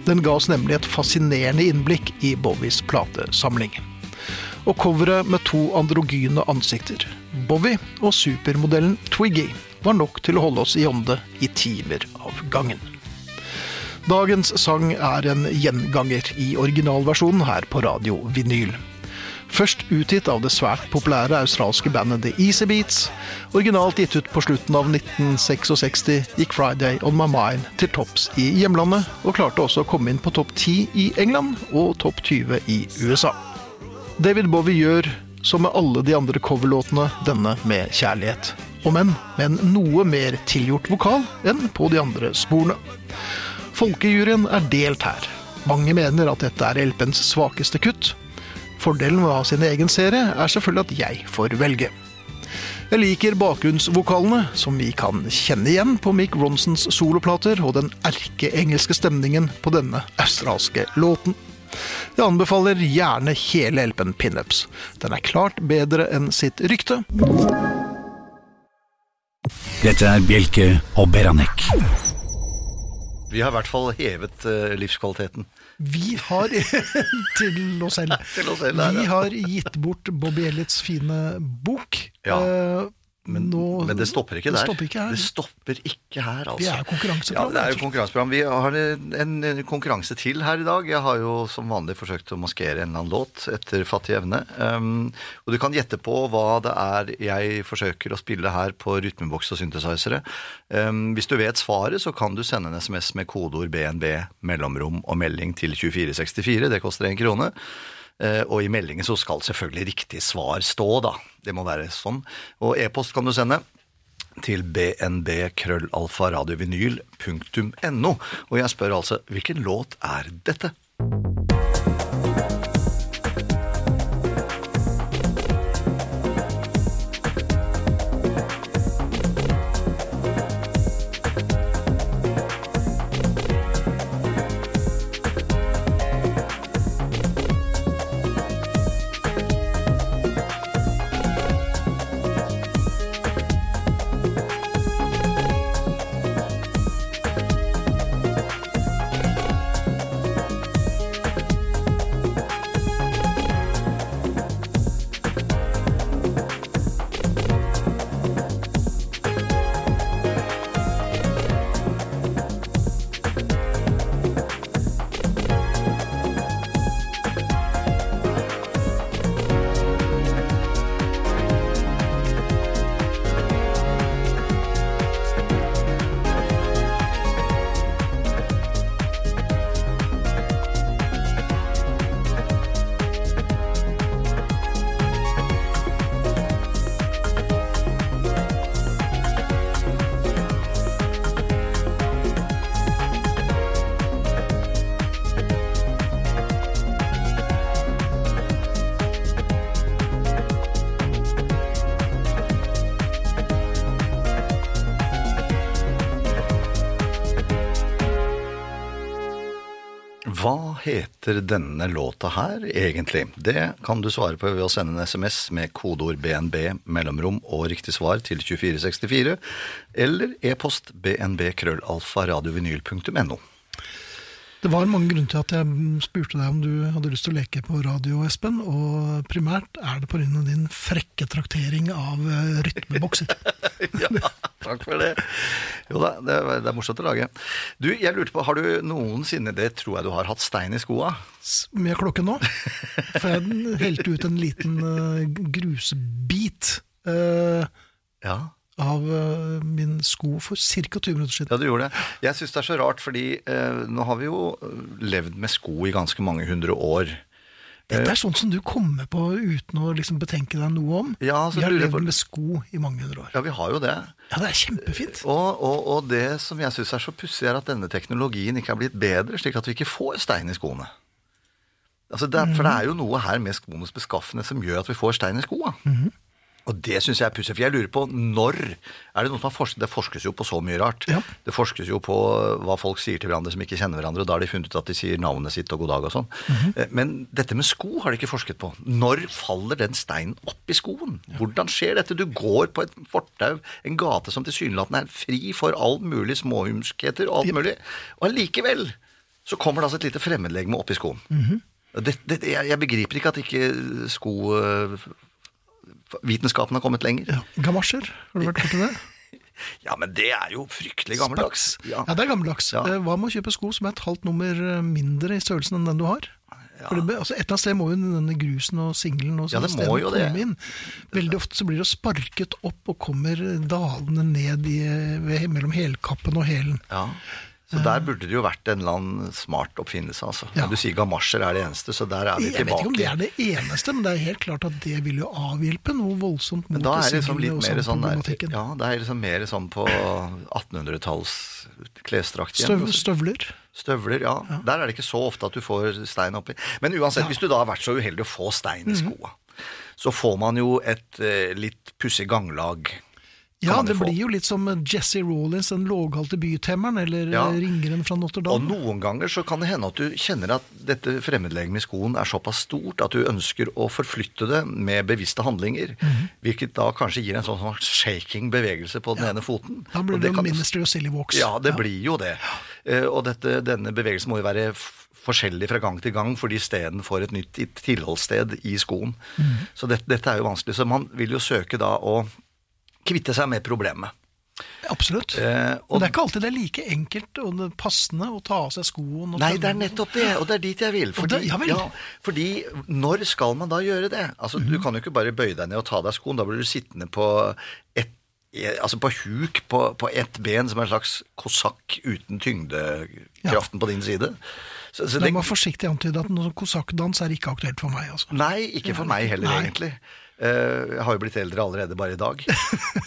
Speaker 4: Den ga oss nemlig et fascinerende innblikk i Bowies platesamling. Og coveret med to androgyne ansikter, Bowie og supermodellen Twiggy, var nok til å holde oss i ånde i timer av gangen. Dagens sang er en gjenganger i originalversjonen her på Radio Vinyl. Først utgitt av det svært populære australske bandet The Easy Beats. Originalt gitt ut på slutten av 1966 gikk 'Friday On My Mind' til topps i hjemlandet, og klarte også å komme inn på topp 10 i England og topp 20 i USA. David Bowie gjør, som med alle de andre coverlåtene, denne med kjærlighet. Om enn med en noe mer tilgjort vokal enn på de andre sporene. Folkejuryen er delt her. Mange mener at dette er LP-ens svakeste kutt. Fordelen med å ha sin egen serie er selvfølgelig at jeg får velge. Jeg liker bakgrunnsvokalene, som vi kan kjenne igjen på Mick Ronsons soloplater, og den erkeengelske stemningen på denne australske låten. Jeg anbefaler gjerne hele LP-en Pinups. Den er klart bedre enn sitt rykte.
Speaker 2: Dette er Bjelke og Beranek.
Speaker 3: Vi har i hvert fall hevet eh, livskvaliteten.
Speaker 4: Vi har til oss selv.
Speaker 3: Til oss selv, der, ja.
Speaker 4: Vi har gitt bort Bobby Ellets fine bok.
Speaker 3: Ja,
Speaker 4: Eh,
Speaker 3: Men,
Speaker 4: nå-
Speaker 3: men det stopper ikke
Speaker 4: det
Speaker 3: der.
Speaker 4: stopper ikke her.
Speaker 3: Det stopper ikke her, altså.
Speaker 4: Vi er jo
Speaker 3: Ja,
Speaker 4: konkurranseprogram,
Speaker 3: det er jo
Speaker 4: altså.
Speaker 3: konkurranseprogram. Vi har en, en konkurranse til her i dag. Jeg har jo som vanlig forsøkt å maskere en eller annen låt etter fattig evne. Um, og du kan gjette på hva det er jeg forsøker å spille her på rytmeboks og synthesizere. Um, hvis du vet svaret, så kan du sende en SMS med kodeord BNB, mellomrom og melding til 2464. Det koster én krone. Eh, Og i meldingen så skal selvfølgelig riktig svar stå, da. Det må være sånn. Og e-post kan du sende til bnb.krøllalfaradiovinyl.no. Og jeg spør altså hvilken låt er dette? Hva heter denne låta her egentlig? Det kan du svare på ved å sende en SMS med kodeord BNB, mellomrom og riktig svar til 2464, eller e-post bnb.krøllalfaradiovinyl.no.
Speaker 4: Det var mange grunner til at jeg spurte deg om du hadde lyst til å leke på radio, Espen. Og primært er det pga. din frekke traktering av eh, rytmebokser.
Speaker 3: Ja, takk for det. Jo da, det er, det er morsomt å lage. Du, jeg lurte på, har du noensinne, det tror jeg du har, hatt stein i skoa?
Speaker 4: S- Med klokken nå. For jeg helte ut en liten eh, grusbit eh,
Speaker 3: Ja.
Speaker 4: av eh, min sko for ca. 20 minutter siden.
Speaker 3: Ja, du gjorde det. Jeg syns det er så rart, fordi eh, nå har vi jo eh, levd med sko i ganske mange hundre år. Eh,
Speaker 4: Dette er sånt som du kommer på uten å liksom betenke deg noe om.
Speaker 3: Ja, så
Speaker 4: Vi har
Speaker 3: lurer jeg
Speaker 4: levd
Speaker 3: på-
Speaker 4: med sko i mange hundre år.
Speaker 3: Ja, vi har jo det.
Speaker 4: Ja, det er kjempefint.
Speaker 3: Og, og, og det som jeg syns er så pussig, er at denne teknologien ikke har blitt bedre, slik at vi ikke får stein i skoene. Altså det, er- For det er jo noe her med skoenes beskaffenhet som gjør at vi får stein i skoa. Og det syns jeg er pussig, for jeg lurer på når er Det noen som har forsket, det forskes jo på så mye rart.
Speaker 4: Ja.
Speaker 3: Det forskes jo på hva folk sier til hverandre som ikke kjenner hverandre, og da har de funnet ut at de sier navnet sitt og god dag og sånn. Eh, Men dette med sko har de ikke forsket på. Når faller den steinen opp i skoen? Hvordan skjer dette? Du går på et fortau, en gate som tilsynelatende er fri for all mulig småhumskheter og alt mulig, og allikevel så kommer det altså et lite fremmedlegeme opp i skoen. det, det, jeg, jeg begriper ikke at ikke sko... eh, vitenskapen har kommet lenger. Ja.
Speaker 4: Gamasjer, har du vært borti det?
Speaker 3: men det er jo fryktelig
Speaker 4: Spaks.
Speaker 3: gammeldags.
Speaker 4: Ja. det er gammeldags.
Speaker 3: Ja.
Speaker 4: Eh, Hva med å kjøpe sko som er et halvt nummer eh, mindre i størrelsen enn den du har? For det, be- altså et eller annet sted må jo denne grusen og singelen og
Speaker 3: Ja,
Speaker 4: sånne
Speaker 3: det må
Speaker 4: steder
Speaker 3: jo
Speaker 4: komme
Speaker 3: det.
Speaker 4: inn. Veldig ofte så blir det sparket opp og kommer dalende ned i, eh, ved, mellom helkappen og hælen.
Speaker 3: Ja. Så der burde det jo vært en eller annen smart oppfinnelse, altså.
Speaker 4: eh, Ja.
Speaker 3: Du sier gamasjer er det eneste, så der er vi
Speaker 4: Jeg vet ikke om det
Speaker 3: tilbake.
Speaker 4: er det eneste, men det er helt klart at det vil jo avhjelpe noe voldsomt mot
Speaker 3: Men da er det liksom litt
Speaker 4: singlene og
Speaker 3: mer sånn der,
Speaker 4: problematikken.
Speaker 3: ja, det er liksom mer sånn på 1800-talls klesdrakt igjen.
Speaker 4: Støv,
Speaker 3: altså.
Speaker 4: støvler.
Speaker 3: Støvler, ja. Der er det ikke så ofte at du får stein oppi. Men uansett, hvis du da har vært så uheldig å få stein i
Speaker 4: Mhm.
Speaker 3: skoa, så får man jo et eh, litt pussig ganglag.
Speaker 4: Ja,
Speaker 3: man jo
Speaker 4: det
Speaker 3: få.
Speaker 4: blir jo litt som eh, Jesse Rawlins, den låghalte bytemmeren, eller
Speaker 3: Ja.
Speaker 4: eh, ringeren fra
Speaker 3: Og
Speaker 4: Notre-Dame.
Speaker 3: noen ganger så kan det hende at du kjenner at dette fremmedlegemet i skoen er såpass stort at du ønsker å forflytte det med bevisste handlinger,
Speaker 4: Mhm.
Speaker 3: hvilket da kanskje gir en sånn sånn shaking bevegelse på den ene foten.
Speaker 4: Da blir
Speaker 3: Og
Speaker 4: det jo
Speaker 3: kan-
Speaker 4: Ministry og Silly Walks.
Speaker 3: Ja, det blir jo det. Eh, Og dette, denne bevegelsen må jo være f- forskjellig fra gang til gang, fordi steden får et nytt i- tilholdssted i skoen.
Speaker 4: Mhm.
Speaker 3: Så dette, dette er jo vanskelig. Så man vil jo søke da å kvitte seg med problemet.
Speaker 4: Absolutt.
Speaker 3: Eh, og-
Speaker 4: og det er ikke alltid det er like enkelt og det passende å ta av seg skoen. Og
Speaker 3: Nei, det er
Speaker 4: tømme-
Speaker 3: nettopp det, og det er dit jeg vil.
Speaker 4: Og
Speaker 3: Fordi,
Speaker 4: det- ja vel.
Speaker 3: fordi når skal man da gjøre det? Altså,
Speaker 4: Mhm.
Speaker 3: Du kan jo ikke bare bøye deg ned og ta av deg skoen, da blir du sittende på et eh, Altså på huk på, på ett ben, som er en slags kosakk uten tyngdekraften på din side. Så, så
Speaker 4: La
Speaker 3: det,
Speaker 4: meg forsiktig antyde at noen kosakkdans er ikke aktuelt for meg. altså.
Speaker 3: nei, ikke for meg heller,
Speaker 4: Nei.
Speaker 3: egentlig. Eh, jeg har jo blitt eldre allerede bare i dag,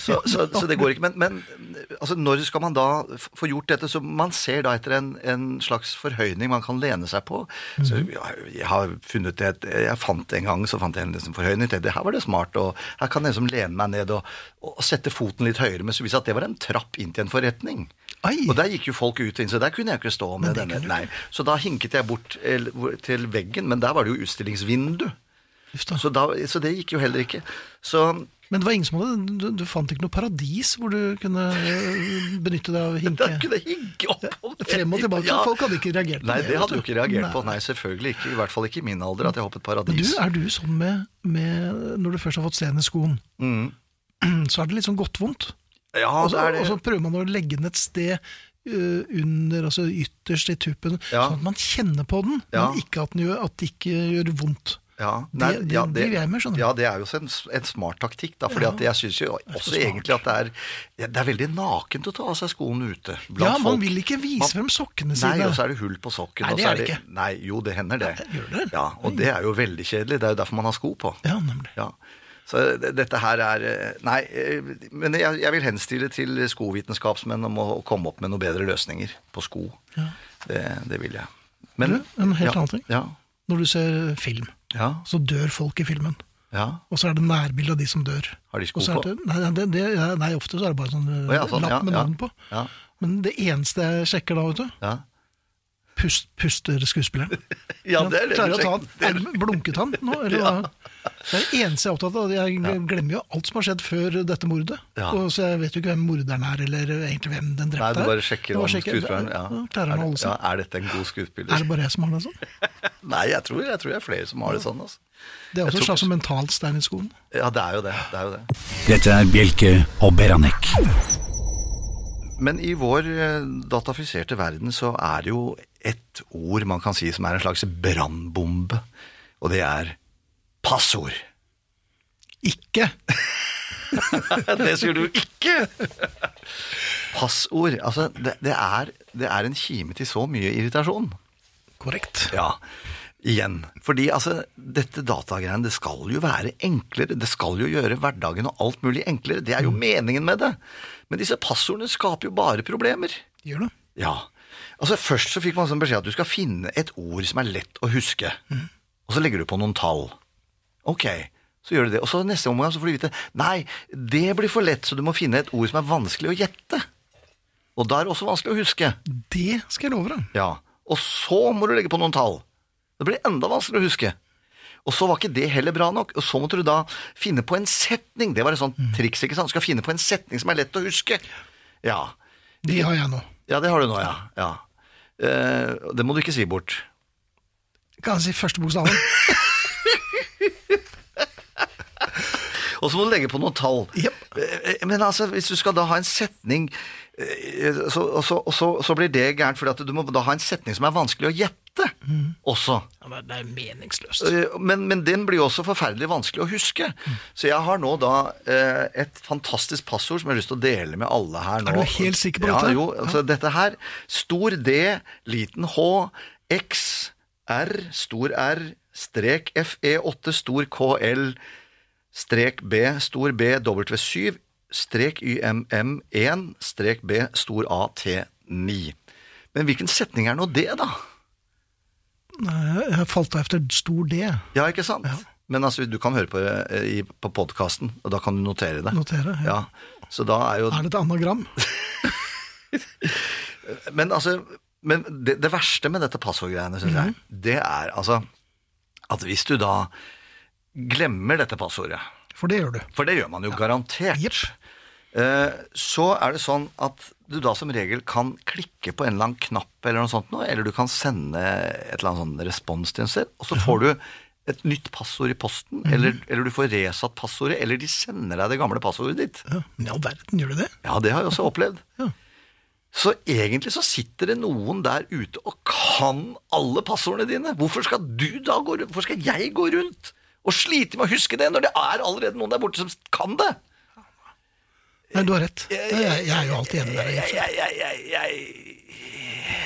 Speaker 3: så, så, så det går ikke. Men, men altså, når skal man da f- få gjort dette? Så man ser da etter en, en slags forhøyning man kan lene seg på. Så
Speaker 4: Mhm.
Speaker 3: jeg, jeg har funnet det, jeg fant en gang så fant jeg en liksom forhøyning. Tenkte, her var det smart, og her kan jeg liksom lene meg ned og, og sette foten litt høyere. Men så viste det seg at det var en trapp inn til en forretning.
Speaker 4: Ai.
Speaker 3: Og der gikk jo folk ut og inn, så der kunne jeg ikke stå med denne. Nei. Så da hinket jeg bort eh, hvor- til veggen, men der var det jo utstillingsvindu.
Speaker 4: Uff da.
Speaker 3: Så, da, så det gikk jo heller ikke. Så
Speaker 4: Men det var ingen som hadde, du, du fant ikke noe paradis hvor du kunne eh, benytte deg av
Speaker 3: da
Speaker 4: hinke?
Speaker 3: kunne jeg hinke oppover.
Speaker 4: Frem og tilbake, folk hadde ikke reagert på
Speaker 3: Nei,
Speaker 4: det,
Speaker 3: det hadde
Speaker 4: vet
Speaker 3: jo
Speaker 4: du.
Speaker 3: ikke reagert på.
Speaker 4: Nei.
Speaker 3: Nei, selvfølgelig ikke. I hvert fall ikke i min alder at jeg hoppet
Speaker 4: Men du,
Speaker 3: paradis.
Speaker 4: er du sånn med, med Når du først har fått stein i skoen, så er det litt sånn godt vondt.
Speaker 3: Mm. Ja, det
Speaker 4: Og så,
Speaker 3: er det.
Speaker 4: og så prøver man å legge den et sted eh, under, altså ytterst i tuppen,
Speaker 3: Ja.
Speaker 4: sånn at man kjenner på den,
Speaker 3: Ja.
Speaker 4: men ikke at, den gjør, at det ikke gjør vondt.
Speaker 3: Ja,
Speaker 4: Det-
Speaker 3: nei,
Speaker 4: det-
Speaker 3: ja,
Speaker 4: det driver jeg med, skjønner du.
Speaker 3: ja, det er jo en, en smart taktikk, da. Fordi
Speaker 4: Ja.
Speaker 3: at jeg syns jo
Speaker 4: er så
Speaker 3: også
Speaker 4: smart.
Speaker 3: egentlig at det er, ja, det er veldig nakent å ta av seg skoene ute.
Speaker 4: Ja,
Speaker 3: blant
Speaker 4: man
Speaker 3: folk.
Speaker 4: vil ikke vise
Speaker 3: Man-
Speaker 4: frem sokkene sine.
Speaker 3: Nei, altså- og så er det hull på sokken.
Speaker 4: Nei,
Speaker 3: og
Speaker 4: det
Speaker 3: så
Speaker 4: er det ikke.
Speaker 3: Nei, jo, det hender det.
Speaker 4: Nei, gjør det?
Speaker 3: Ja, Og det er jo veldig kjedelig. Det er jo derfor man har sko på.
Speaker 4: Ja, nemlig.
Speaker 3: Ja. Så det- dette her er eh, Nei, eh, men jeg, jeg vil henstille til skovitenskapsmenn om å komme opp med noen bedre løsninger på sko. Det, det vil jeg. Men,
Speaker 4: Du, en helt
Speaker 3: ja,
Speaker 4: annen ting.
Speaker 3: Ja,
Speaker 4: Når du ser film,
Speaker 3: ja,
Speaker 4: så dør folk i filmen.
Speaker 3: ja.
Speaker 4: Og så er det nærbilde av de som dør.
Speaker 3: Har de sko
Speaker 4: Og så er
Speaker 3: på?
Speaker 4: Det, nei, det, det, nei, ofte så er det bare sånn eh,
Speaker 3: Å, ja, sånn,
Speaker 4: lapp
Speaker 3: ja,
Speaker 4: med
Speaker 3: ja,
Speaker 4: navn på.
Speaker 3: ja.
Speaker 4: Men det eneste jeg sjekker da, vet du,
Speaker 3: ja.
Speaker 4: pust, puster skuespilleren.
Speaker 3: Ja, det er det
Speaker 4: Klarer
Speaker 3: du
Speaker 4: å ta
Speaker 3: sjekker. Det er
Speaker 4: han, blunket han nå? Eller hva? Det er det eneste jeg er opptatt av. Jeg glemmer jo alt som har skjedd før dette mordet.
Speaker 3: Ja.
Speaker 4: Og så jeg vet jo ikke hvem morderen er, eller egentlig hvem
Speaker 3: Nei,
Speaker 4: den drepte er.
Speaker 3: du bare sjekker
Speaker 4: Jeg
Speaker 3: om skuespilleren ja.
Speaker 4: Klarer
Speaker 3: Er
Speaker 4: han å
Speaker 3: det-
Speaker 4: holde seg?
Speaker 3: Ja, er dette en god skuespiller?
Speaker 4: Er det bare jeg som har det sånn?
Speaker 3: Nei, jeg tror, jeg tror det er flere som har det sånn. Altså.
Speaker 4: Det er også
Speaker 3: tror-
Speaker 4: en slags mental stein i skoen.
Speaker 3: Ja, det er jo det. det, er jo det.
Speaker 2: Dette er Bjelke og Beranek.
Speaker 3: Men i vår eh, datafiserte verden så er det jo ett ord man kan si som er en slags brannbombe, og det er passord.
Speaker 4: Ikke!
Speaker 3: Det sier du ikke! Passord. Altså, det, det, er, det er en kime til så mye irritasjon.
Speaker 4: Korrekt.
Speaker 3: Ja, igjen. Fordi altså, dette datagreiene, det skal jo være enklere. Det skal jo gjøre hverdagen og alt mulig enklere. Det er jo meningen med det. Men disse passordene skaper jo bare problemer.
Speaker 4: Gjør det.
Speaker 3: Ja. Altså Først så fikk man sånn beskjed at du skal finne et ord som er lett å huske. Og så legger du på noen tall. Ok. Så gjør de det. Og så neste omgang så får de vite nei, det blir for lett, så du må finne et ord som er vanskelig å gjette. Og da er det også vanskelig å huske.
Speaker 4: Det skal jeg love deg.
Speaker 3: Ja. Og så må du legge på noen tall. Det blir enda vanskeligere å huske. Og så var ikke det heller bra nok. Og så måtte du da finne på en setning. Det var et sånt triks. ikke sant? Du skal finne på en setning som er lett å huske. Ja.
Speaker 4: Det har jeg nå.
Speaker 3: Ja, det har du nå, ja. ja. Eh, det må du ikke si bort.
Speaker 4: Kan jeg si første bokstaven?
Speaker 3: Og så må du legge på noen tall.
Speaker 4: Jep.
Speaker 3: Eh, eh, Men altså, hvis du skal da ha en setning eh, så, og, så, og så, så blir det gærent, fordi at du må da ha en setning som er vanskelig å gjette også.
Speaker 4: Ja, men det er meningsløst.
Speaker 3: Eh, Men, men den blir jo også forferdelig vanskelig å huske. Så jeg har nå da eh, et fantastisk passord som jeg har lyst til å dele med alle her nå.
Speaker 4: Er du helt sikker på
Speaker 3: ja,
Speaker 4: dette?
Speaker 3: Jo, altså dette her. Stor D, liten H, X, R, stor R, strek FE8, stor KL, strek B, stor B, W7, strek YMM1, strek B, stor AT9. Men hvilken setning er nå det, da?
Speaker 4: Nei, Jeg falt av etter stor D,
Speaker 3: Ja, ikke sant? Men altså, du kan høre på, eh, i- på podkasten, og da kan du notere det.
Speaker 4: noterer jeg.
Speaker 3: Ja, så da er jo...
Speaker 4: Er det et anagram?
Speaker 3: Men, altså, men det, det verste med dette passordgreiene, syns jeg, det er altså at hvis du da glemmer dette passordet,
Speaker 4: For det gjør du.
Speaker 3: for det gjør man jo garantert,
Speaker 4: Jepp.
Speaker 3: eh, så er det sånn at du da som regel kan klikke på en eller annen knapp eller noe sånt nå, eller du kan sende et eller annet sånn respons til en sted, og så får du et nytt passord i posten, eller, eller du får resatt passordet, eller de sender deg det gamle passordet ditt.
Speaker 4: Ja, men i all verden gjør du det?
Speaker 3: Ja, det har jeg også opplevd.
Speaker 4: Ja.
Speaker 3: Så egentlig så sitter det noen der ute og kan alle passordene dine. Hvorfor skal du da gå rundt? Hvorfor skal jeg gå rundt og slite med å huske det, når det er allerede noen der borte som kan det?
Speaker 4: Nei, du har rett. Jeg, jeg, jeg er jo alltid enig med deg.
Speaker 3: Jeg, jeg, jeg, jeg, jeg,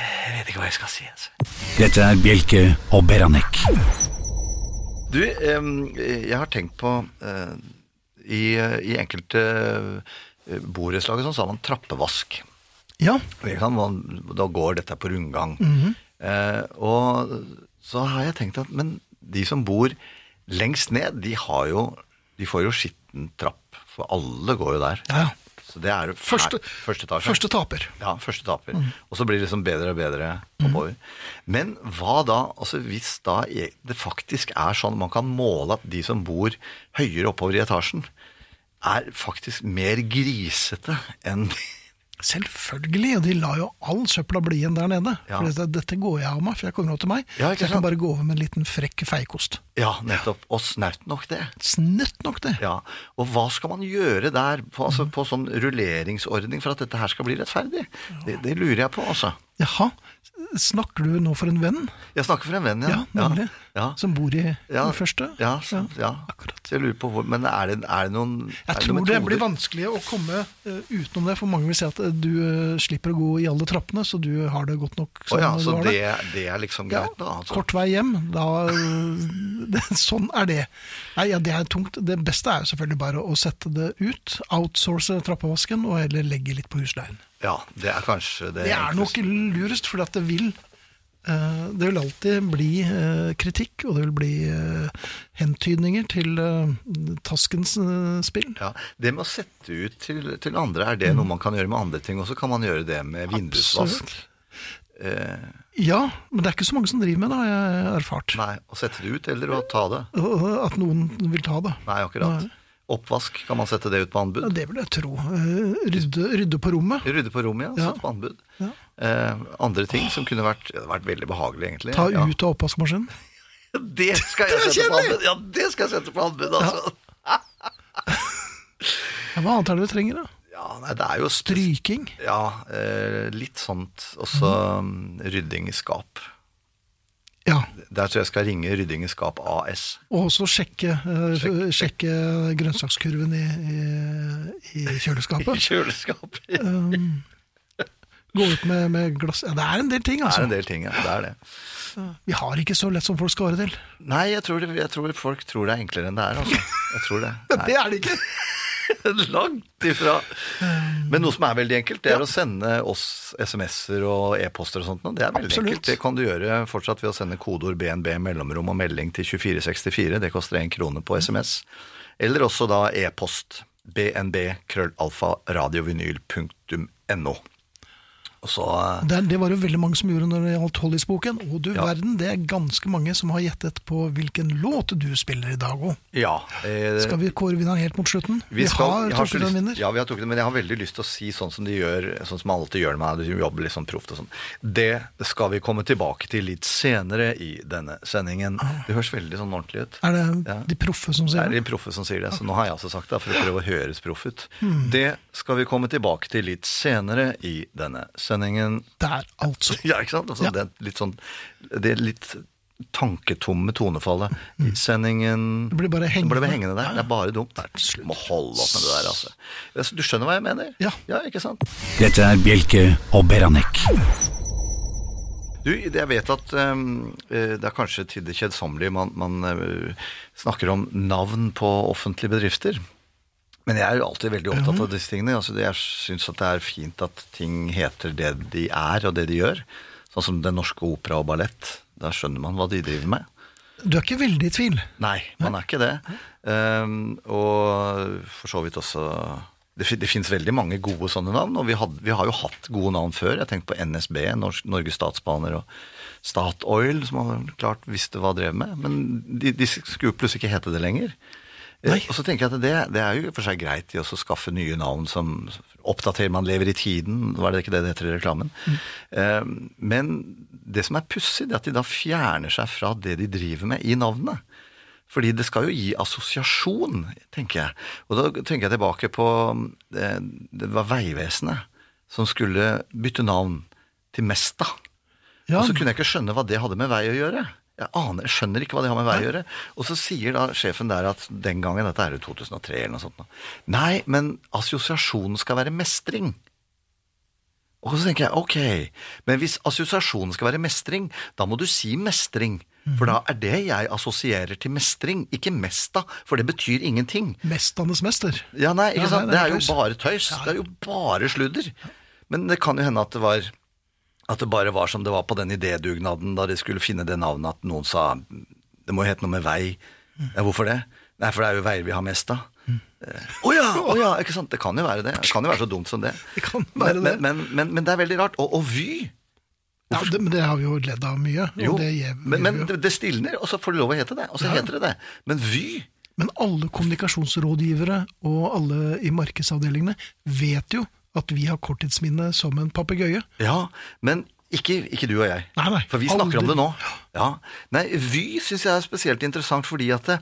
Speaker 3: jeg vet ikke hva jeg skal si. Altså.
Speaker 2: Dette er Bjelke og Beranek.
Speaker 3: Du, em, jeg har tenkt på eh, i, I enkelte eh, borettslag og sånn, så har man trappevask.
Speaker 4: Ja,
Speaker 3: Ikke sant? Man, da går dette på rundgang.
Speaker 4: Mhm.
Speaker 3: eh, og så har jeg tenkt at men de som bor lengst ned, de har jo De får jo skitten trapp. For alle går jo der.
Speaker 4: ja, ja.
Speaker 3: Så det er jo
Speaker 4: Første,
Speaker 3: fæ- første etasje.
Speaker 4: første taper. Mm.
Speaker 3: Ja, første taper. Og så blir det liksom bedre og bedre oppover. Men hva da, altså hvis da e- det faktisk er sånn man kan måle at de som bor høyere oppover i etasjen, er faktisk mer grisete enn
Speaker 4: Selvfølgelig, og de lar jo all søpla bli igjen der nede.
Speaker 3: Ja.
Speaker 4: For dette, dette går jeg av meg, for jeg kommer over til meg.
Speaker 3: Ja, ikke
Speaker 4: så jeg
Speaker 3: sant?
Speaker 4: kan bare gå over med en liten frekk feikost.
Speaker 3: Ja, nettopp. Og snaut nok det.
Speaker 4: Snøtt nok det.
Speaker 3: Ja, Og hva skal man gjøre der, på, altså,
Speaker 4: Mm.
Speaker 3: på sånn rulleringsordning, for at dette her skal bli rettferdig? Det, det lurer jeg på, altså.
Speaker 4: Jaha, snakker du nå for en venn?
Speaker 3: Jeg snakker for en venn,
Speaker 4: Ja,
Speaker 3: ja.
Speaker 4: nemlig.
Speaker 3: Ja, ja.
Speaker 4: Som bor i
Speaker 3: Ja,
Speaker 4: den første?
Speaker 3: Ja, så, ja.
Speaker 4: akkurat.
Speaker 3: Så Jeg lurer på hvor, Men er det, er det noen er noen
Speaker 4: Jeg tror det
Speaker 3: metoder?
Speaker 4: blir vanskelig å komme eh, utenom det, for mange vil si at eh, du eh, slipper å gå i alle trappene, så du har det godt nok.
Speaker 3: Å ja,
Speaker 4: du
Speaker 3: så
Speaker 4: har
Speaker 3: det, det er liksom
Speaker 4: Ja,
Speaker 3: greit, da? Altså.
Speaker 4: Kort vei hjem. Da, det, sånn er det. Nei, ja, Det er tungt. Det beste er jo selvfølgelig bare å sette det ut. Outsource trappevasken, og heller legge litt på husleien.
Speaker 3: Ja, det er kanskje det.
Speaker 4: Det er nok
Speaker 3: enkleste.
Speaker 4: lurest, for det vil eh, Det vil alltid bli eh, kritikk, og det vil bli eh, hentydninger til eh, taskens eh, spill.
Speaker 3: ja. Det med å sette ut til, til andre, er det
Speaker 4: Mm.
Speaker 3: noe man kan gjøre med andre ting? Og så kan man gjøre det med vindusvask.
Speaker 4: Absolutt.
Speaker 3: Eh.
Speaker 4: Ja, men det er ikke så mange som driver med det, har jeg erfart.
Speaker 3: Nei, å sette det ut eller å ta det?
Speaker 4: Og At noen vil ta det.
Speaker 3: Nei, akkurat.
Speaker 4: Nei.
Speaker 3: Oppvask, kan man sette det ut på
Speaker 4: Ja,
Speaker 3: anbud?
Speaker 4: det vil jeg tro. Eh, Rydde, rydde på rommet.
Speaker 3: Rydde på rommet, ja.
Speaker 4: Ja.
Speaker 3: Satt på anbud.
Speaker 4: Ja.
Speaker 3: Eh, andre ting som kunne vært, det hadde vært veldig behagelig, egentlig.
Speaker 4: Ta
Speaker 3: ja.
Speaker 4: ut av oppvaskmaskinen.
Speaker 3: Det skal jeg sette på anbud! Ja, det skal jeg sette på anbud, altså!
Speaker 4: Ja, hva annet er det vi trenger? da?
Speaker 3: Ja, nei, det er jo stry...
Speaker 4: Stryking.
Speaker 3: Ja, eh, litt sånt. Også mm. rydding i skap.
Speaker 4: Ja.
Speaker 3: Der tror jeg skal ringe Rydding i skap AS.
Speaker 4: Og også sjekke, eh, sjekke grønnsakskurven i, i, i
Speaker 3: I
Speaker 4: kjøleskapet.
Speaker 3: kjøleskap. Det
Speaker 4: Gå ut med, med glass ja, Det er en del ting,
Speaker 3: er
Speaker 4: altså.
Speaker 3: en del ting, ja. Det er det.
Speaker 4: Vi har ikke så lett som folk skal ha det til.
Speaker 3: Nei, jeg tror, det, jeg tror folk tror det er enklere enn det er, altså. Jeg tror det.
Speaker 4: Det er det ikke!
Speaker 3: Langt ifra. Men noe som er veldig enkelt, det er å sende oss SMS-er og e-poster og sånt. nå. Det er veldig
Speaker 4: Absolutt.
Speaker 3: enkelt. Det kan du gjøre fortsatt ved å sende kodeord BNB mellomrom og melding til 2464. Det koster én krone på SMS. Eller også da e-post bnb-radiovinyl.no. Og så eh,
Speaker 4: Det, er- det var jo veldig mange som gjorde når det gjaldt Hollis-boken. Og du verden, det er ganske mange som har gjettet på hvilken låt du spiller i dag òg.
Speaker 3: Ja. eh,
Speaker 4: Skal vi kåre vinneren helt mot slutten? Vi,
Speaker 3: skal-
Speaker 4: har
Speaker 3: jeg
Speaker 4: trukket
Speaker 3: ikke lyst-
Speaker 4: en vinner.
Speaker 3: Ja, vi har trukket den, men jeg har veldig lyst til å si sånn som de gjør, sånn som alltid gjør med meg, de jobber litt sånn proft og sånn. Det skal vi komme tilbake til litt senere i denne sendingen. Det høres veldig sånn ordentlig ut.
Speaker 4: Er det
Speaker 3: Ja.
Speaker 4: de proffe som
Speaker 3: Det
Speaker 4: sier
Speaker 3: er de
Speaker 4: det?
Speaker 3: proffe som sier det, så nå har jeg altså sagt det, for å prøve å høres proff ut.
Speaker 4: Hmm.
Speaker 3: Det skal vi komme tilbake til litt senere i denne sendingen.
Speaker 4: Der, altså.
Speaker 3: Ja, ikke sant? Altså,
Speaker 4: Ja.
Speaker 3: Det er litt sånn, det er litt tanketomme tonefallet i sendingen.
Speaker 4: Mm. Det blir bare hengende.
Speaker 3: Det blir hengende der. Det er bare dumt.
Speaker 4: slutt.
Speaker 3: Må holde opp med det der, altså. Altså, Du skjønner hva jeg mener?
Speaker 4: Ja.
Speaker 3: ja ikke sant?
Speaker 2: Dette er Bjelke og Beranek.
Speaker 3: Du, jeg vet at ehm, eh, det er kanskje til det kjedsommelige man, man eh, snakker om navn på offentlige bedrifter. Men jeg er jo alltid veldig opptatt av disse tingene. Altså, jeg syns at det er fint at ting heter det de er, og det de gjør. Sånn som Den Norske Opera og Ballett. Da skjønner man hva de driver med.
Speaker 4: Du er ikke veldig i tvil.
Speaker 3: Nei, man er ikke det. Ehm, og for så vidt også det, fin- det finnes veldig mange gode sånne navn, og vi, hadde, vi har jo hatt gode navn før. Jeg tenker på NSB, Norsk, Norges Statsbaner og Statoil, som man klart visste hva drev med. Men de, de skulle plutselig ikke hete det lenger. Eh,
Speaker 4: Nei.
Speaker 3: Og så tenker jeg at det, det er jo i og for seg greit i å så skaffe nye navn som oppdaterer man lever i tiden, var det ikke det det heter i reklamen? Ehm, men det som er pussig, det er at de da fjerner seg fra det de driver med i navnet. Fordi det skal jo gi assosiasjon, tenker jeg. Og da tenker jeg tilbake på eh, Det var Vegvesenet som skulle bytte navn til Mesta.
Speaker 4: Ja,
Speaker 3: Og så kunne jeg ikke skjønne hva det hadde med vei å gjøre. Jeg aner, jeg skjønner ikke hva det har med vei å gjøre. Og så sier da sjefen der at den gangen, dette er jo 2003 eller noe sånt, nå, nei, men assosiasjonen skal være mestring. Og så tenker jeg, ok, men hvis assosiasjonen skal være mestring, da må du si mestring. For da er det jeg assosierer til mestring, ikke mesta, for det betyr ingenting.
Speaker 4: Mesternes mester.
Speaker 3: Ja, nei, ikke
Speaker 4: Ja,
Speaker 3: sant?
Speaker 4: nei,
Speaker 3: Det
Speaker 4: det er
Speaker 3: er jo
Speaker 4: tøys.
Speaker 3: bare tøys. Det er jo bare sludder. Men det kan jo hende at det var at det bare var som det var på den idédugnaden da de skulle finne det navnet at noen sa det må jo hete noe med vei. Ja, hvorfor det? Nei, for det er jo veier vi har mest av. Eh, Å ja, å ja, ikke sant? Det kan jo være det. Det kan jo være så dumt som det.
Speaker 4: Det kan være
Speaker 3: Men,
Speaker 4: det.
Speaker 3: men, men, men, men det er veldig rart. Og, og Vy
Speaker 4: Ja, det, men det har vi jo ledd av mye. og
Speaker 3: jo,
Speaker 4: det gir-
Speaker 3: men, men
Speaker 4: gir vi jo.
Speaker 3: det, det stilner, og så får det lov å hete det. Og så heter det det. Men Vy
Speaker 4: men alle kommunikasjonsrådgivere og alle i markedsavdelingene vet jo at vi har korttidsminne som en papegøye.
Speaker 3: Ja, men ikke, ikke du og jeg.
Speaker 4: Nei, nei,
Speaker 3: For vi snakker om
Speaker 4: aldri.
Speaker 3: det nå. Ja. Nei, Vy syns jeg er spesielt interessant fordi at det,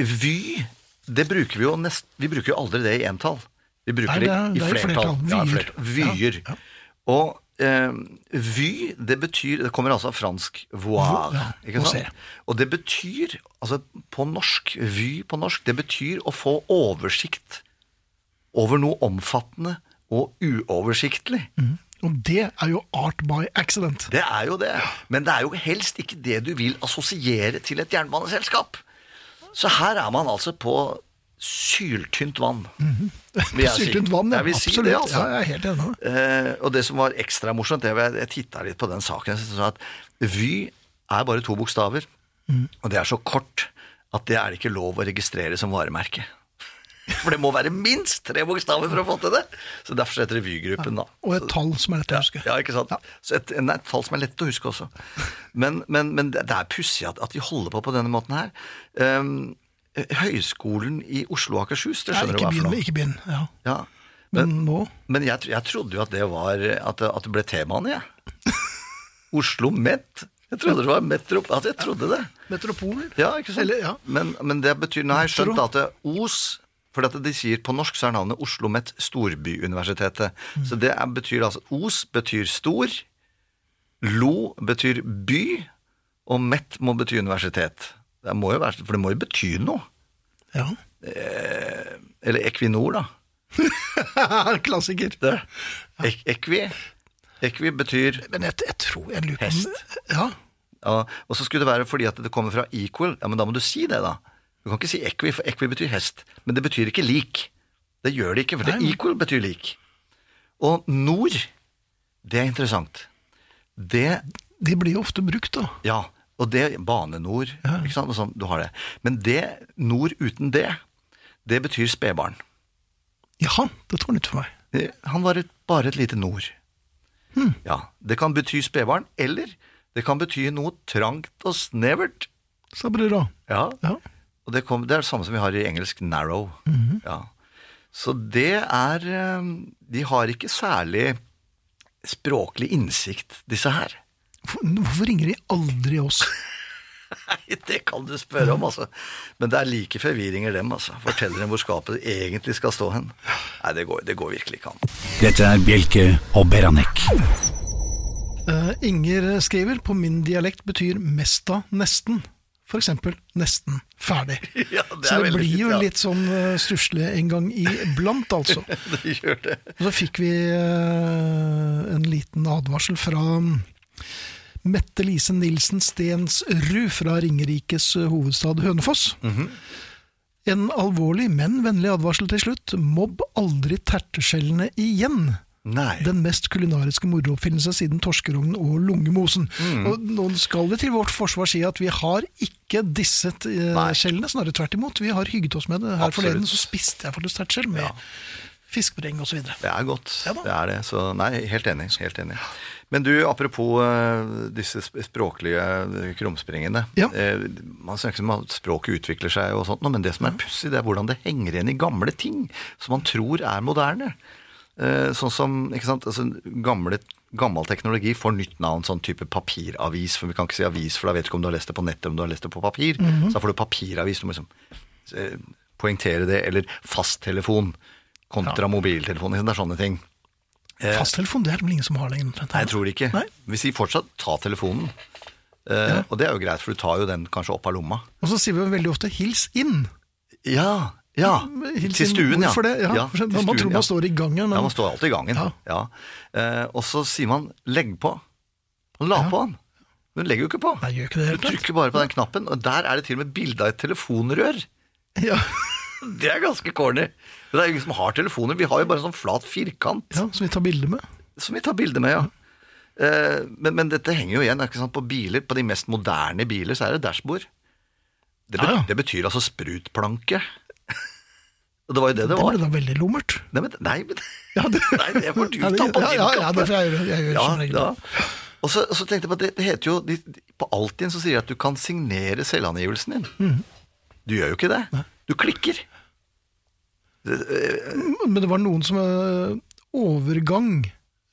Speaker 3: Vy det bruker Vi jo nest, vi bruker jo aldri det i entall. Vi bruker
Speaker 4: Nei, det er-
Speaker 3: det,
Speaker 4: det er
Speaker 3: i
Speaker 4: i
Speaker 3: flertall.
Speaker 4: flertall.
Speaker 3: Ja, i
Speaker 4: Vyer.
Speaker 3: flertall. Vyer.
Speaker 4: Ja, ja.
Speaker 3: Og eh, Vy det betyr Det kommer altså av fransk
Speaker 4: Vo-
Speaker 3: voir.
Speaker 4: ja,
Speaker 3: Ikke
Speaker 4: å se.
Speaker 3: sant? Og det betyr, altså på norsk, Vy på norsk, det betyr å få oversikt over noe omfattende og uoversiktlig.
Speaker 4: Og det er jo art by accident.
Speaker 3: Det er jo det. Men det er jo helst ikke det du vil assosiere til et jernbaneselskap. Så her er man altså på syltynt vann.
Speaker 4: Mhm.
Speaker 3: vil jeg si.
Speaker 4: Syltynt vann, ja.
Speaker 3: Jeg vil si
Speaker 4: Absolutt.
Speaker 3: det, altså.
Speaker 4: Ja, jeg er helt enig. med deg.
Speaker 3: Eh, og det som var ekstra morsomt, det var jeg titta litt på den saken. Jeg synes at Vy er bare to bokstaver,
Speaker 4: Mhm.
Speaker 3: og det er så kort at det er det ikke lov å registrere som varemerke. For det må være minst tre bokstaver for å få til det. Så derfor heter det Vy-gruppen, da.
Speaker 4: Og et tall som er lett å huske.
Speaker 3: Ja, ikke sant? Så et, nei, et tall som er lett å huske også. Men, men, men det det er pussig at, at de holder på på denne måten her. Ehm, Høgskolen i Oslo og Akershus, det
Speaker 4: Nei,
Speaker 3: skjønner du hva
Speaker 4: ikke
Speaker 3: er for
Speaker 4: begynn.
Speaker 3: noe.
Speaker 4: Ikke begynn. Ja.
Speaker 3: Ja.
Speaker 4: Men
Speaker 3: Men,
Speaker 4: nå
Speaker 3: men jeg, tro- jeg trodde jo at det var at det, at det ble temaene, jeg. Oslo Met. Jeg trodde det var Metrop... Altså, jeg trodde det.
Speaker 4: Metropolen.
Speaker 3: Ja, ikke sant?
Speaker 4: Eller, ja.
Speaker 3: men, men det betyr Nå har jeg skjønt
Speaker 4: Metro.
Speaker 3: at det, OS For dette de sier på norsk, så er navnet Oslo Met Storbyuniversitetet.
Speaker 4: Mm.
Speaker 3: Så det er, betyr altså OS betyr stor, LO betyr by, og Met må bety universitet. Det må jo være, for det må jo bety noe.
Speaker 4: Ja.
Speaker 3: Eller Equinor, da.
Speaker 4: Klassiker.
Speaker 3: Det. Ek, equi. Equi betyr
Speaker 4: Men jeg, jeg tror jeg lurer på om-
Speaker 3: Hest.
Speaker 4: Ja.
Speaker 3: ja, Og så skulle det være fordi at det kommer fra equal. Ja, men da må du si det, da. Du kan ikke si equi, for equi betyr hest. Men det betyr ikke lik. Det gjør det ikke, for det
Speaker 4: Nei, men-
Speaker 3: equal betyr lik. Og nord, det er interessant. Det
Speaker 4: Det blir jo ofte brukt, da.
Speaker 3: Ja, og det Bane-Nor, ikke sant? Og sånn, du har det. Men det, Nor uten det, det betyr spedbarn.
Speaker 4: Jaha, dette var nytt for meg.
Speaker 3: Eh, Han var et, bare et lite Nor.
Speaker 4: Hmm.
Speaker 3: Ja, det kan bety spedbarn, eller det kan bety noe trangt og snevert.
Speaker 4: Sa brura.
Speaker 3: Ja,
Speaker 4: Ja.
Speaker 3: og det, kom, det er det samme som vi har i engelsk narrow.
Speaker 4: Mhm.
Speaker 3: ja. Så det er eh, De har ikke særlig språklig innsikt, disse her.
Speaker 4: Hvor- Hvorfor ringer de aldri oss?
Speaker 3: Nei, det kan du spørre om, altså. Men det er like forvirringer dem, altså. Forteller dem hvor skapet egentlig skal stå hen. Nei, det går, det går virkelig ikke an.
Speaker 2: Dette er Bjelke og Beranek.
Speaker 4: Eh, Inger skriver på min dialekt betyr mesta nesten. For eksempel nesten ferdig.
Speaker 3: Ja, det
Speaker 4: så
Speaker 3: er
Speaker 4: det
Speaker 3: veldig
Speaker 4: blir
Speaker 3: fint,
Speaker 4: jo
Speaker 3: ja.
Speaker 4: litt sånn uh, stusslig en gang iblant, altså.
Speaker 3: Det gjør det.
Speaker 4: Og så fikk vi eh, en liten advarsel fra mm, Mette Lise Nilsen Stensrud fra Ringerikes eh, hovedstad Hønefoss.
Speaker 3: Mhm.
Speaker 4: En alvorlig, men vennlig advarsel til slutt. Mobb aldri terteskjellene igjen.
Speaker 3: Nei.
Speaker 4: Den mest kulinariske morooppfinnelse siden torskerognen og lungemosen.
Speaker 3: Mhm.
Speaker 4: Og nå skal vi til vårt forsvar si at vi har ikke disset eh,
Speaker 3: Nei.
Speaker 4: skjellene, snarere tvert imot. Vi har hygget oss med det. Her
Speaker 3: Absolutt.
Speaker 4: forleden så spiste jeg faktisk tertskjell med fiskebreng osv.
Speaker 3: Det er godt.
Speaker 4: Ja da.
Speaker 3: det er det. Så nei, helt enig. Helt enig. Men du, apropos eh, disse sp- språklige eh, krumspringene.
Speaker 4: Ja.
Speaker 3: Eh, man snakker om at språket utvikler seg og sånt, nå, men det som er pussig, det er hvordan det henger igjen i gamle ting som man tror er moderne. Eh, sånn som, ikke sant, altså, gamle, gammel teknologi får nytt navn, sånn type papiravis. For vi kan ikke si avis, for da vet du ikke om du har lest det på nettet, om du har lest det på papir.
Speaker 4: Mhm.
Speaker 3: Så da får du papiravis. Du må liksom eh, poengtere det. Eller fasttelefon kontra mobiltelefon. ikke sant, Det er sånne ting.
Speaker 4: Fasttelefon det er det vel ingen som har lenger? omtrent,
Speaker 3: Nei,
Speaker 4: her.
Speaker 3: jeg tror det ikke.
Speaker 4: Nei.
Speaker 3: Vi sier fortsatt 'ta telefonen'. Eh, Og det er jo greit, for du tar jo den kanskje opp av lomma.
Speaker 4: Og så sier vi jo veldig ofte 'hils inn'.
Speaker 3: Ja, ja.
Speaker 4: Hils
Speaker 3: Ah, til
Speaker 4: inn.
Speaker 3: stuen, ja.
Speaker 4: Mm, Hvorfor det? Ja, for
Speaker 3: til
Speaker 4: man tror man står i gangen, men-
Speaker 3: Ja, man står alltid i gangen.
Speaker 4: Ja.
Speaker 3: Ja. Eh, og så sier man 'legg på'. Man la på den. Men du legger jo ikke på.
Speaker 4: Nei, gjør ikke det
Speaker 3: Du
Speaker 4: helt rett.
Speaker 3: trykker bare på den knappen, og der er det til og med bilde av et telefonrør.
Speaker 4: Ja.
Speaker 3: Det er ganske corny. Men Det er jo ingen som har telefoner. Vi har jo bare en sånn flat firkant.
Speaker 4: ja, som vi tar bilde med.
Speaker 3: som vi tar bilder med, ja. Eh, Men, men dette henger jo igjen ikke sant? på biler. På de mest moderne biler så er det dashbord. Det, bet-
Speaker 4: Ja, ja.
Speaker 3: det betyr altså sprutplanke. Og det var jo det det,
Speaker 4: Det ble
Speaker 3: var.
Speaker 4: da veldig lummert.
Speaker 3: Nei, men, nei, men,
Speaker 4: Ja, det-
Speaker 3: nei, det får du
Speaker 4: Ja, det-
Speaker 3: ta på
Speaker 4: ja,
Speaker 3: din
Speaker 4: ja,
Speaker 3: kappe.
Speaker 4: ja, det får jeg gjøre. Jeg gjør sånn
Speaker 3: ja,
Speaker 4: som regel det.
Speaker 3: ja. Og så, og så tenkte jeg på at det, det heter jo de, de, På Altinn så sier de at du kan signere selvangivelsen din.
Speaker 4: Mhm.
Speaker 3: Du gjør jo ikke det. Du klikker.
Speaker 4: Mm, Men det var noen som eh, overgang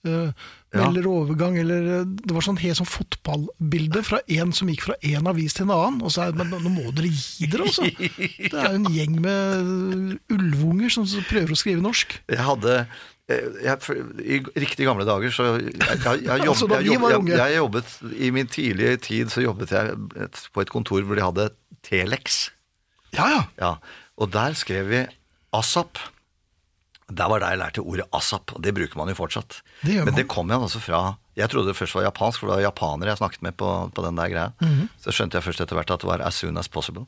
Speaker 4: eh, Melder overgang, eller eh, Det var sånn helt sånn fotballbilde fra en som gikk fra en avis til en annen. Og så er det men nå må dere gi dere, altså! Det er jo en gjeng med eh, ulvunger som prøver å skrive norsk.
Speaker 3: Jeg hadde eh, jeg, I riktig gamle dager så jeg, jeg, jeg, jobbet,
Speaker 4: Altså, da vi
Speaker 3: jeg, jobbet,
Speaker 4: var
Speaker 3: jeg,
Speaker 4: unge.
Speaker 3: jeg jobbet I min tidlige tid så jobbet jeg et, på et kontor hvor de hadde Telex.
Speaker 4: Ja, ja.
Speaker 3: Ja, og der skrev vi ASAP. Der var der jeg lærte ordet ASAP, og det bruker man jo fortsatt.
Speaker 4: Det gjør
Speaker 3: Men
Speaker 4: man.
Speaker 3: det kom igjen altså fra Jeg trodde det først var japansk, for det var japanere jeg snakket med på, på den der greia.
Speaker 4: Mhm.
Speaker 3: Så skjønte jeg først etter hvert at det var as soon as possible.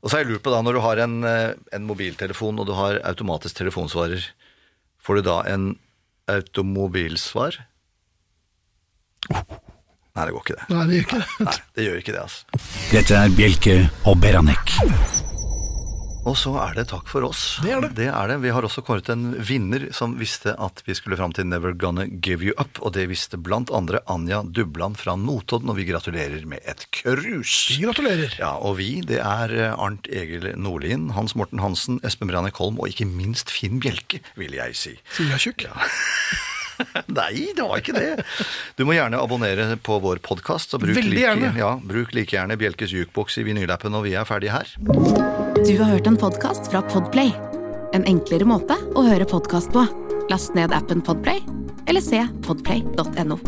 Speaker 3: Og så har jeg lurt på da, når du har en, eh, en mobiltelefon og du har automatisk telefonsvarer, får du da en automobilsvar? Nei, det går ikke det.
Speaker 4: Uh. Nei, det gjør ikke det.
Speaker 3: Nei, det gjør ikke det, altså.
Speaker 2: Dette er Bjelke og Beranek.
Speaker 3: Og så er det takk for oss.
Speaker 4: Det er det.
Speaker 3: Vi har også kåret en vinner som visste at vi skulle fram til Never Gonna Give You Up, og det visste blant andre Anja Dubland fra Notodden, og vi gratulerer med et krus.
Speaker 4: Gratulerer.
Speaker 3: Ja, og vi, det er eh, Arnt Egil Nordlien, Hans Morten Hansen, Espen Branek Holm og ikke minst Finn Bjelke, vil jeg si.
Speaker 4: Sier jeg er tjukk.
Speaker 3: Nei, det var ikke det. Du må gjerne abonnere på vår podkast.
Speaker 4: Veldig gjerne.
Speaker 3: Ja, bruk like gjerne Bjelkes jukeboks i vinylappen når vi er ferdige her.
Speaker 1: Du har hørt en podkast fra Podplay. En enklere måte å høre podkast på. Last ned appen Podplay, eller se podplay.no.